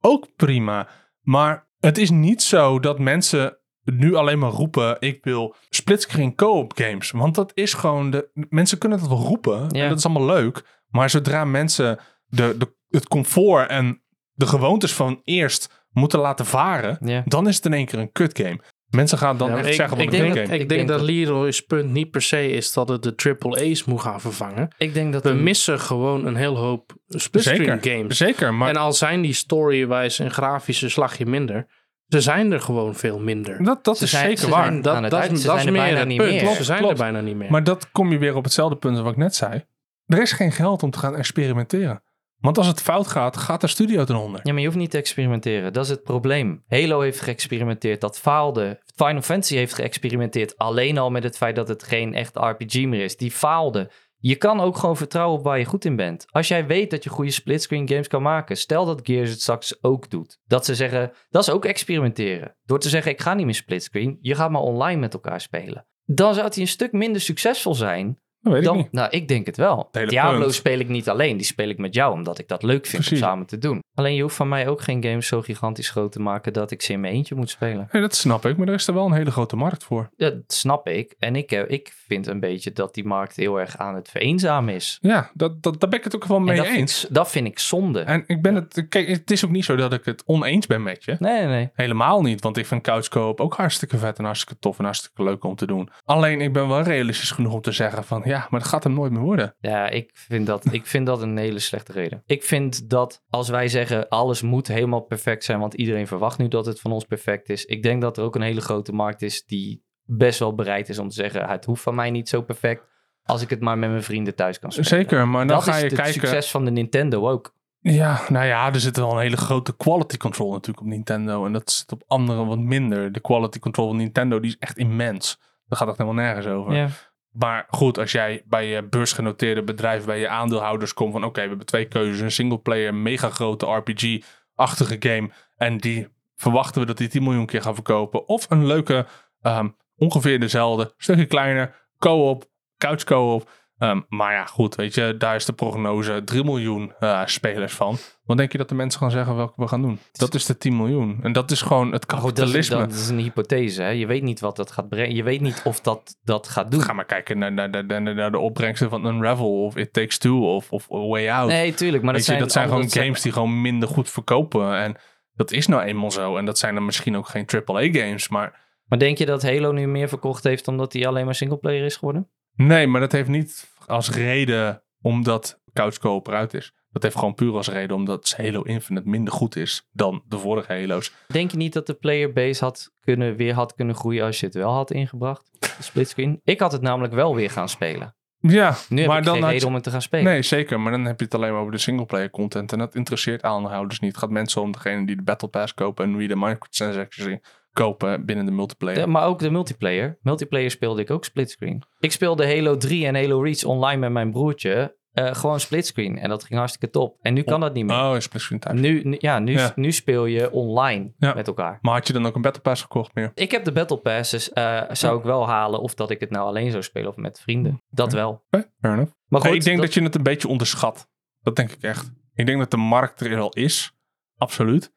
ook prima. Maar het is niet zo dat mensen nu alleen maar roepen: ik wil splitscreen co-op games. Want dat is gewoon de. Mensen kunnen dat wel roepen. Ja. En dat is allemaal leuk. Maar zodra mensen de, de, het comfort en de gewoontes van eerst moeten laten varen, Ja. dan is het in één keer een kut game. Mensen gaan dan Ja, echt ik, zeggen: ik wat een denk, kut dat- game. ik denk denk dat dat- Leroy's punt niet per se is dat het de triple A's moet gaan vervangen. Ik denk dat We een- missen gewoon een heel hoop splitscreen Zeker, games. zeker. Maar en al zijn die story-wise en grafische slagje minder, ze zijn er gewoon veel minder. dat, dat Ze is zijn- zeker ze waar. zijn- aan dat het dat, uit- dat ze is zijn er meer bijna het niet punt. meer. Ze zijn er bijna niet meer. Maar dat kom je weer op hetzelfde punt als wat ik net zei. Er is geen geld om te gaan experimenteren. Want als het fout gaat, gaat de studio ten onder. Ja, maar je hoeft niet te experimenteren. Dat is het probleem. Halo heeft geëxperimenteerd, dat faalde. Final Fantasy heeft geëxperimenteerd. Alleen al met het feit dat het geen echt RPG meer is. Die faalde. Je kan ook gewoon vertrouwen op waar je goed in bent. Als jij weet dat je goede splitscreen games kan maken. Stel dat Gears het straks ook doet. Dat ze zeggen, dat is ook experimenteren. Door te zeggen, ik ga niet meer splitscreen. Je gaat maar online met elkaar spelen. Dan zou die een stuk minder succesvol zijn. Dat weet dan, ik niet. Nou, ik denk het wel. hele Diablo punt. speel ik niet alleen. Die speel ik met jou, omdat ik dat leuk vind Precies. om samen te doen. Alleen je hoeft van mij ook geen games zo gigantisch groot te maken dat ik ze in mijn eentje moet spelen. Nee, dat snap ik, maar er is er wel een hele grote markt voor. Dat snap ik. En ik, eh, ik vind een beetje dat die markt heel erg aan het vereenzamen is. Ja, dat, dat, daar ben ik het ook wel En mee dat eens. Vind ik, dat vind ik zonde. En ik ben het, kijk, het is ook niet zo dat ik het oneens ben met je. Nee, nee, nee. Helemaal niet, want ik vind couchkoop ook hartstikke vet en hartstikke tof en hartstikke leuk om te doen. Alleen ik ben wel realistisch genoeg om te zeggen van ja, maar dat gaat hem nooit meer worden. Ja, ik vind, dat, ik vind dat een hele slechte reden. Ik vind dat als wij zeggen alles moet helemaal perfect zijn, want iedereen verwacht nu dat het van ons perfect is. Ik denk dat er ook een hele grote markt is die best wel bereid is om te zeggen: het hoeft van mij niet zo perfect als ik het maar met mijn vrienden thuis kan spelen. Zeker, maar dan dat ga is je het kijken. succes van de Nintendo ook. Ja, nou ja, er zit wel een hele grote quality control natuurlijk op Nintendo. En dat zit op anderen wat minder. De quality control van Nintendo die is echt immens. Daar gaat echt helemaal nergens over. Ja. Maar goed, als jij bij je beursgenoteerde bedrijf, bij je aandeelhouders komt van oké, we hebben twee keuzes. Een singleplayer, mega grote RPG-achtige game. En die verwachten we dat die 10 miljoen keer gaan verkopen. Of een leuke, ehm, ongeveer dezelfde, stukje kleiner, co-op, couch co-op. Ehm, maar ja, goed, weet je, daar is de prognose 3 miljoen eh, spelers van. Wat denk je dat de mensen gaan zeggen welke we gaan doen? Dat is de 10 miljoen. En dat is gewoon het Maar goed, dat is, kapitalisme. dat is een hypothese. Hè? Je weet niet wat dat gaat brengen. Je weet niet of dat, dat gaat doen. Ga maar kijken naar, naar, naar, naar- naar de opbrengsten van Unravel of It Takes Two of, of Way Out. Nee, tuurlijk. Maar dat Weet je, zijn, dat zijn andere- gewoon games die gewoon minder goed verkopen. En dat is nou eenmaal zo. En dat zijn dan misschien ook geen AAA games. Maar Maar denk je dat Halo nu meer verkocht heeft omdat hij alleen maar singleplayer is geworden? nee, maar dat heeft niet als reden omdat Couch Co-op eruit is. Dat heeft gewoon puur als reden omdat Halo Infinite minder goed is dan de vorige Halo's. Denk je niet dat de playerbase had kunnen, weer had kunnen groeien als je het wel had ingebracht? De splitscreen. Ik had het namelijk wel weer gaan spelen. Ja, Nu heb maar ik dan geen had reden je- om het te gaan spelen. Nee, zeker. Maar dan heb je het alleen maar over de singleplayer content. En dat interesseert aanhouders niet. Het gaat mensen om degene die de Battle Pass kopen en wie de microtransactions in kopen binnen de multiplayer. Ja, maar ook de multiplayer. Multiplayer speelde ik ook splitscreen. Ik speelde Halo 3 en Halo Reach online met mijn broertje. eh gewoon splitscreen. En dat ging hartstikke top. En nu kan dat niet meer. Oh, is misschien thuis. Nu, nu- ja, nu, Ja. nu speel je online Ja. met elkaar. Maar had je dan ook een Battle Pass gekocht meer? Ik heb de Battle Passes, eh, zou ik wel halen. Of dat ik het nou alleen zou spelen of met vrienden. Dat wel. Oké, fair enough. Maar goed, Nee, ik denk dat... je het een beetje onderschat. Dat denk ik echt. Ik denk dat de markt er al is. Absoluut.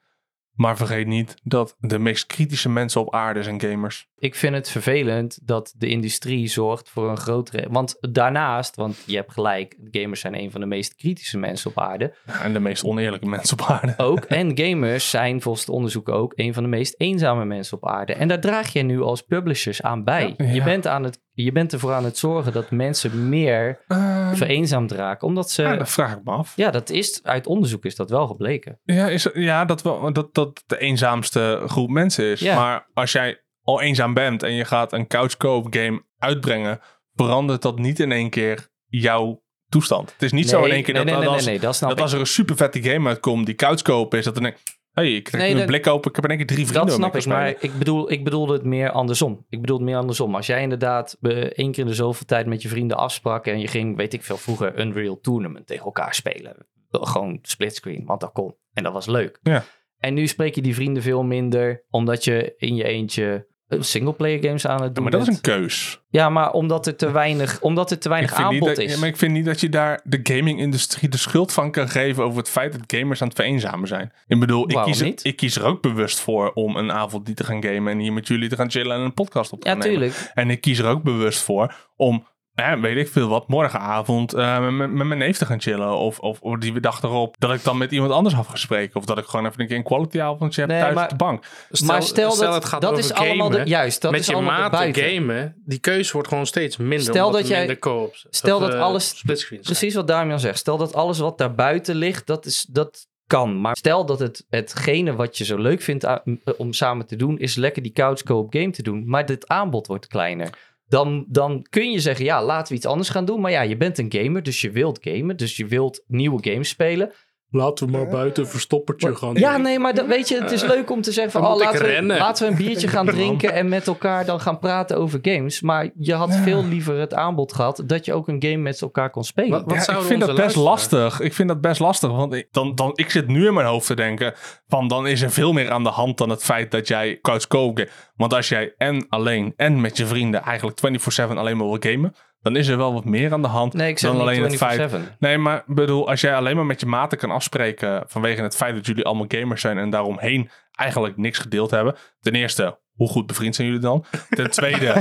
Maar vergeet niet dat de meest kritische mensen op aarde zijn gamers. ik vind het vervelend dat de industrie zorgt voor een grotere... Want daarnaast, want je hebt gelijk, gamers zijn een van de meest kritische mensen op aarde. En de meest oneerlijke mensen op aarde. ook. En gamers zijn volgens het onderzoek ook een van de meest eenzame mensen op aarde. En daar draag je nu als publishers aan bij. Ja. Je, Ja. bent aan het, je bent ervoor aan het zorgen dat mensen meer Eh, vereenzaamd raken. Omdat ze. ja, Ja, dat vraag ik me af. dat is, uit onderzoek is dat wel gebleken. Ja, is, ja dat, wel, dat dat de eenzaamste groep mensen is. Ja. Maar als jij al eenzaam bent en je gaat een couch co-op game uitbrengen, verandert dat niet in één keer jouw toestand. Het is niet zo in één keer nee, nee, dat, dat nee, als, nee, nee, dat snap dat ik. als er een super vette game uitkomt die couch co-op is, dat dan denk ik, hey, ik trek Nee, nu dat- een blik open, ik heb in één keer drie vrienden. Dat waarmee snap ik, kan maar spelen. ik bedoel, ik bedoelde het meer andersom. Ik bedoel het meer andersom. Als jij inderdaad eh, één keer in de zoveel tijd met je vrienden afsprak en je ging, weet ik veel, vroeger Unreal Tournament tegen elkaar spelen. Gewoon splitscreen, want dat kon. En dat was leuk. Ja. En nu spreek je die vrienden veel minder, omdat je in je eentje eh, singleplayer games aan het Ja, doen maar dat is een bent. keus. Ja, maar omdat er te weinig, omdat er te weinig niet aanbod dat, is. ja, maar ik vind niet dat je daar de gaming-industrie de schuld van kan geven over het feit dat gamers aan het vereenzamen zijn. Ik bedoel, ik Waarom kies, er- niet? ik kies er ook bewust voor om een avond die te gaan gamen en hier met jullie te gaan chillen en een podcast op te Ja, gaan nemen. tuurlijk. En ik kies er ook bewust voor om, eh, weet ik veel wat, morgenavond eh, met- met, met mijn neef te gaan chillen. Of, of, of die dag erop dat ik dan met iemand anders af ga spreken. Of dat ik gewoon even een keer een quality avondje heb Nee, thuis maar- op de bank. Stel, maar stel, dat, het gaat dat over is allemaal de, gamen, juist, dat met is je allemaal de maten buiten. gamen, die keuze wordt gewoon steeds minder. Stel omdat dat er jij- minder co-ops. stel dat eh, alles- splitscreens zijn. Precies wat Damian zegt. Stel dat alles wat daarbuiten ligt, dat, is, dat kan. Maar stel dat het, hetgene wat je zo leuk vindt a- m- eh, om samen te doen, is lekker die couch co-op game te doen. Maar dit aanbod wordt kleiner. Dan, dan kun je zeggen, ja, laten we iets anders gaan doen. Maar ja, je bent een gamer, dus je wilt gamen. Dus je wilt nieuwe games spelen. Laten we maar buiten een verstoppertje gaan. doen. Ja, nee, maar dat, weet je, het is leuk om te zeggen van... Dan Oh, moet ik laten, we, rennen. laten we een biertje gaan drinken en met elkaar dan gaan praten over games. Maar je had veel liever het aanbod gehad dat je ook een game met elkaar kon spelen. Wat- wat Ja, ik zouden vind dat onze best luisteraars- lastig. Ik vind dat best lastig. Want ik, dan, dan, ik zit nu in mijn hoofd te denken: van dan is er veel meer aan de hand dan het feit dat jij couch koken. Want als jij en alleen en met je vrienden eigenlijk 24-7 alleen maar wil gamen, dan is er wel wat meer aan de hand nee, ik zeg dan niet alleen het feit. 24/7. Nee, maar ik bedoel, als jij alleen maar met je maten kan afspreken vanwege het feit dat jullie allemaal gamers zijn en daaromheen eigenlijk niks gedeeld hebben. Ten eerste, hoe goed bevriend zijn jullie dan? Ten tweede,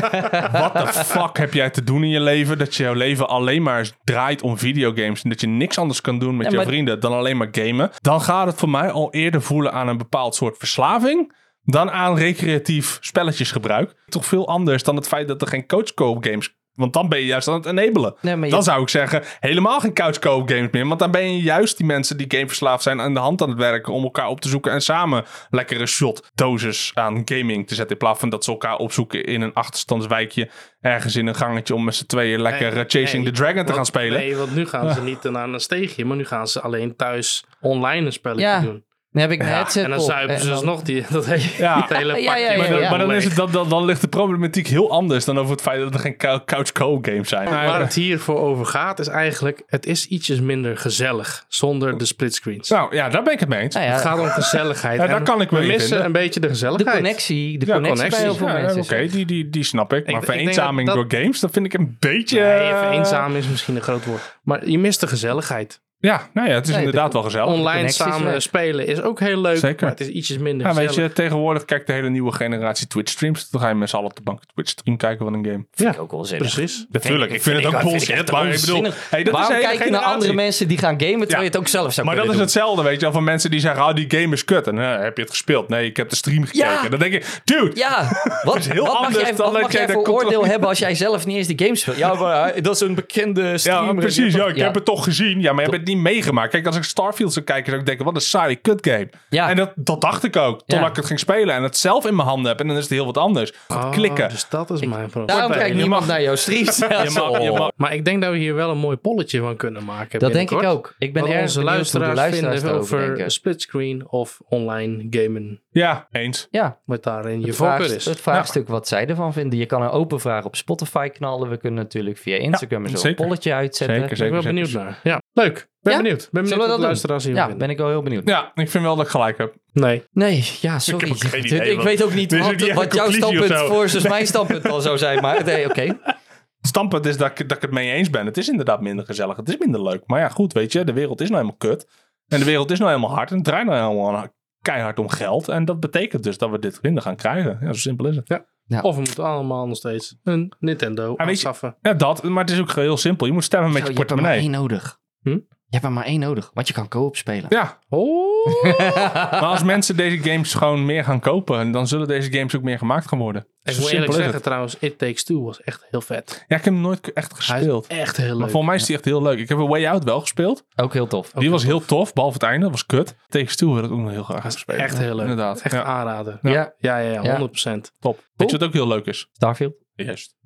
wat de fuck heb jij te doen in je leven dat jouw leven alleen maar draait om videogames en dat je niks anders kan doen met Ja, je maar- vrienden dan alleen maar gamen? Dan gaat het voor mij al eerder voelen aan een bepaald soort verslaving. Dan aan recreatief spelletjesgebruik. Toch veel anders dan het feit dat er geen coach co-op games... Want dan ben je juist aan het enabelen. Nee, maar je- Dan zou ik zeggen, helemaal geen couch co-op games meer. Want dan ben je juist die mensen die gameverslaafd zijn aan de hand aan het werken. Om elkaar op te zoeken en samen lekkere shotdoses aan gaming te zetten. In plaats van dat ze elkaar opzoeken in een achterstandswijkje. Ergens in een gangetje om met z'n tweeën lekker Nee, eh, Chasing nee, the Dragon te want- gaan spelen. Ah. Nee, want nu gaan ze niet naar een steegje, maar nu gaan ze alleen thuis online een spelletje Ja, doen. Dan heb ik mijn headset En dan op. zuipen ze En dus dan- nog die, dat hele, Ja. dat hele Ja, pakje. ja, ja, Maar, dan, ja. maar dan, is het, dan, dan, dan ligt de problematiek heel anders dan over het feit dat er geen cou- couch co-op games zijn. Waar het hier voor over gaat is eigenlijk, het is ietsjes minder gezellig zonder de splitscreens. nou ja, daar ben ik het mee eens. Nou ja, Het gaat om gezelligheid. Ja, daar En kan ik me we in missen vinden. een beetje de de gezelligheid. connectie, de Ja, connectie bij heel connecties. veel Ja, mensen. Oké, is er. die, die, die snap ik. Maar ik denk dat vereenzaming dat- door games, dat vind ik een beetje... Nee, even eh, eenzaam is misschien een groot woord. Maar je mist de gezelligheid. Ja, nou ja, het is Nee, inderdaad wel gezellig. Online connecties samen weg. spelen is ook heel leuk, Zeker. maar het is ietsjes minder Ja, weet gezellig. je, tegenwoordig kijkt de hele nieuwe generatie Twitch streams. Dan ga je met z'n allen op de bank Twitch stream kijken van een game. Vind ik ook wel zinnig. Precies. Natuurlijk, ik vind het ook bullshit. Maar ik bedoel, hey, dat is Waarom een hele kijk je naar generatie. andere mensen die gaan gamen, terwijl Ja. je het ook zelf zou Maar dat kunnen is doen? hetzelfde, weet je wel, van mensen die zeggen, ah, die game is kut. En eh, heb je het gespeeld? Nee, ik heb de stream gekeken. Ja. Dan denk ik, dude, Ja, wat, is heel wat mag anders jij, dan wat dat mag jij jij de voor controle- oordeel hebben als jij zelf niet eens die games speelt? Ja, maar, eh, dat is een bekende ja, streamer. precies, ja, ik heb het toch gezien. Ja, maar je bent niet niet meegemaakt. Kijk, als ik Starfield zou kijken, zou ik denken, wat een saaie kut game. Ja. En dat, dat dacht ik ook, totdat Ja. ik het ging spelen en het zelf in mijn handen heb. En dan is het heel wat anders. Gaat Ah, klikken. Dus dat is mijn probleem. Daarom Kortweg, kijkt je niemand mag- naar jouw stream. Je mag- je mag- Maar ik denk dat we hier wel een mooi polletje van kunnen maken. Dat denk ik binnenkort. ook. Ik ben Wat erg onze benieuwd hoe de luisteraars luisteraars vinden erover over denken. splitscreen of online gamen. Ja, eens. Ja, Wat daarin je het, voorkeur vraagst- is. het vraagstuk wat zij ervan vinden. Je kan een open vraag op Spotify knallen. We kunnen natuurlijk via Instagram en zo een zeker. polletje uitzetten. Zeker, Ik ben zeker. wel benieuwd zeker. naar. Ja, leuk. Ben Ja? benieuwd. Ben benieuwd we wat dat de doen? luisteraars hiervan Ja, vinden. ben ik wel heel benieuwd. Ja, ik vind wel dat ik gelijk heb. Nee. Nee, ja, sorry. ook geen Ik, idee, want- weet ook niet Dit is wat, niet echt wat een jouw conclusie of standpunt zo. versus mijn standpunt al zou zijn. Maar nee, oké. Stampen is dat ik, dat ik het mee eens ben. Het is inderdaad minder gezellig. Het is minder leuk. Maar ja, goed, weet je, de wereld is nou helemaal kut. En de wereld is nou helemaal hard. En het draait nou helemaal keihard om geld. En dat betekent dus dat we dit minder gaan krijgen. Ja, zo simpel is het. Ja. Of we moeten allemaal nog steeds een Nintendo weet je- aanschaffen. Ja, dat. Maar het is ook heel simpel. Je moet stemmen met Zo, je je hebt er maar portemonnee. één nodig. Hm? Je hebt er maar één nodig, want je kan co-op spelen. Ja, Oh, maar als mensen deze games gewoon meer gaan kopen, dan zullen deze games ook meer gemaakt gaan worden. ik Zo moet eerlijk simpel is zeggen het. trouwens, It Takes Two was echt heel vet. Ja, ik heb hem nooit echt Hij is gespeeld. echt heel Maar leuk. voor mij is die echt heel leuk. Ik heb een Way Out wel gespeeld. Ook heel tof. heel die was heel tof, behalve het einde. Dat was kut. Tegen Stoel wil ik ook nog heel graag Dat is spelen. echt heel leuk. Inderdaad. Echt ja, aanraden. Ja, Ja, ja, Ja. ja, 100%. top. Weet je wat ook heel leuk is? Starfield. Juist.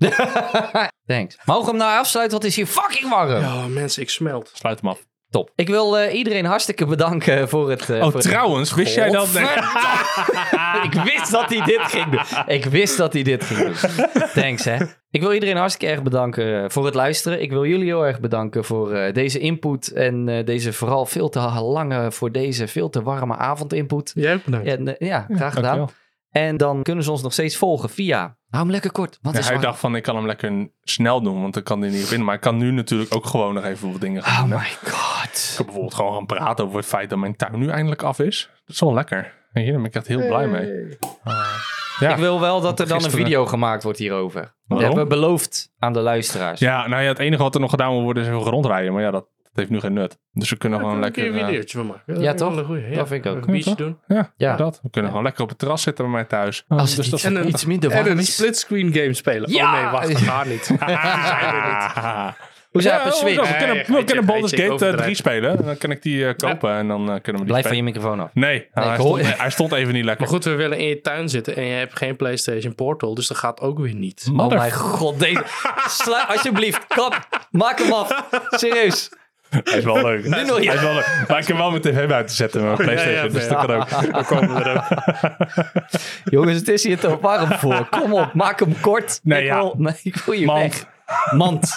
Thanks. Mogen we hem nou afsluiten? Wat is hier fucking warm? Ja, mensen, ik smelt. Sluit hem af. Top. Ik wil eh, iedereen hartstikke bedanken voor het... eh, Oh, voor- trouwens, wist jij dat? Nee. Godverdomme. ik wist dat hij dit ging doen. Ik wist dat hij dit ging doen. Thanks, hè. Ik wil iedereen hartstikke erg bedanken eh, voor het luisteren. Ik wil jullie heel erg bedanken voor eh, deze input. En eh, deze vooral veel te lange, voor deze veel te warme avondinput. Jij ook bedankt. En, eh, ja, graag gedaan. Dankjewel. En dan kunnen ze ons nog steeds volgen via... Hou hem lekker kort, want het Ja, is hij warm. dacht van, ik kan hem lekker snel doen, want dan kan hij niet op in. Maar ik kan nu natuurlijk ook gewoon nog even wat dingen gaan Oh doen. hè. my god. Ik kan bijvoorbeeld gewoon gaan praten over het feit dat mijn tuin nu eindelijk af is. Dat is wel lekker. Weet je, daar ben ik echt heel blij mee. Ja. Ik wil wel dat er dan een Gisteren. video gemaakt wordt hierover. Dat Waarom? hebben we beloofd aan de luisteraars. Ja, nou ja, het enige wat er nog gedaan moet worden is even rondrijden. Maar ja, dat, dat heeft nu geen nut. Dus we kunnen gewoon Daar kun je lekker... een eh, videootje van maken. Ja, is wel toch? een goeie, ja. Dat vind ik ook. Een biertje Ja, doen. Ja, Ja. Oh, dat. We kunnen gewoon lekker op het terras zitten bij mij thuis. Als het Dus dat iets, is wel iets minder warm is. splitscreen game spelen. Ja! Oh nee, wacht, dat gaat niet. Hoe zijn we op Ja, een oh, Switch? We kunnen, Ja, we ja, kunnen ja, Baldur's ja, Gate eh, overdrijven. 3 spelen. En dan kan ik die eh, kopen en dan eh, kunnen we die Blijf van je spelen. microfoon af. Nee, nou, ik hij, hoor- stond, hij stond even niet lekker. Maar goed, we willen in je tuin zitten en je hebt geen PlayStation Portal, dus dat gaat ook weer niet. Oh Mother- mijn god, deze... Sla- Alsjeblieft, kap. Maak hem af. Serieus. Hij is wel leuk. nog, ja. Hij is wel leuk. Maar ik heb wel mijn tv buiten zetten. Mijn Playstation, ja, dus dat ja. kan ook. Dan komen we er ook. Jongens, het is hier te warm voor. Kom op, maak hem kort. Nee, ik, ja. wil, nee, ik wil je Mand. weg. Mand.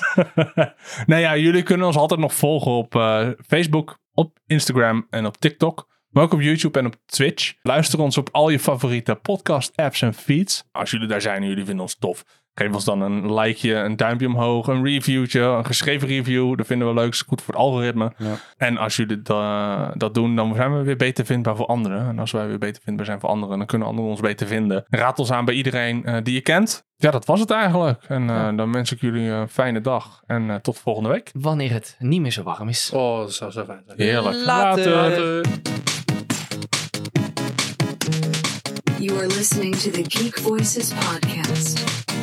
Nou ja, jullie kunnen ons altijd nog volgen op eh, Facebook, op Instagram en op TikTok. Maar ook op YouTube en op Twitch. Luister ons op al je favoriete podcast apps en feeds. Als jullie daar zijn en jullie vinden ons tof. Geef ons dan een likeje, een duimpje omhoog, een reviewtje, een geschreven review. Dat vinden we leuk, is goed voor het algoritme. En als jullie da- dat doen, dan zijn we weer beter vindbaar voor anderen. En als wij weer beter vindbaar zijn voor anderen, dan kunnen anderen ons beter vinden. Raad ons aan bij iedereen eh, die je kent. Ja, dat was het eigenlijk. En eh, dan wens ik jullie een fijne dag. En eh, tot volgende week. Wanneer het niet meer zo warm is. Oh, dat zou zo fijn zijn. Heerlijk. Later. Later. You are listening to the Geek Voices Podcast.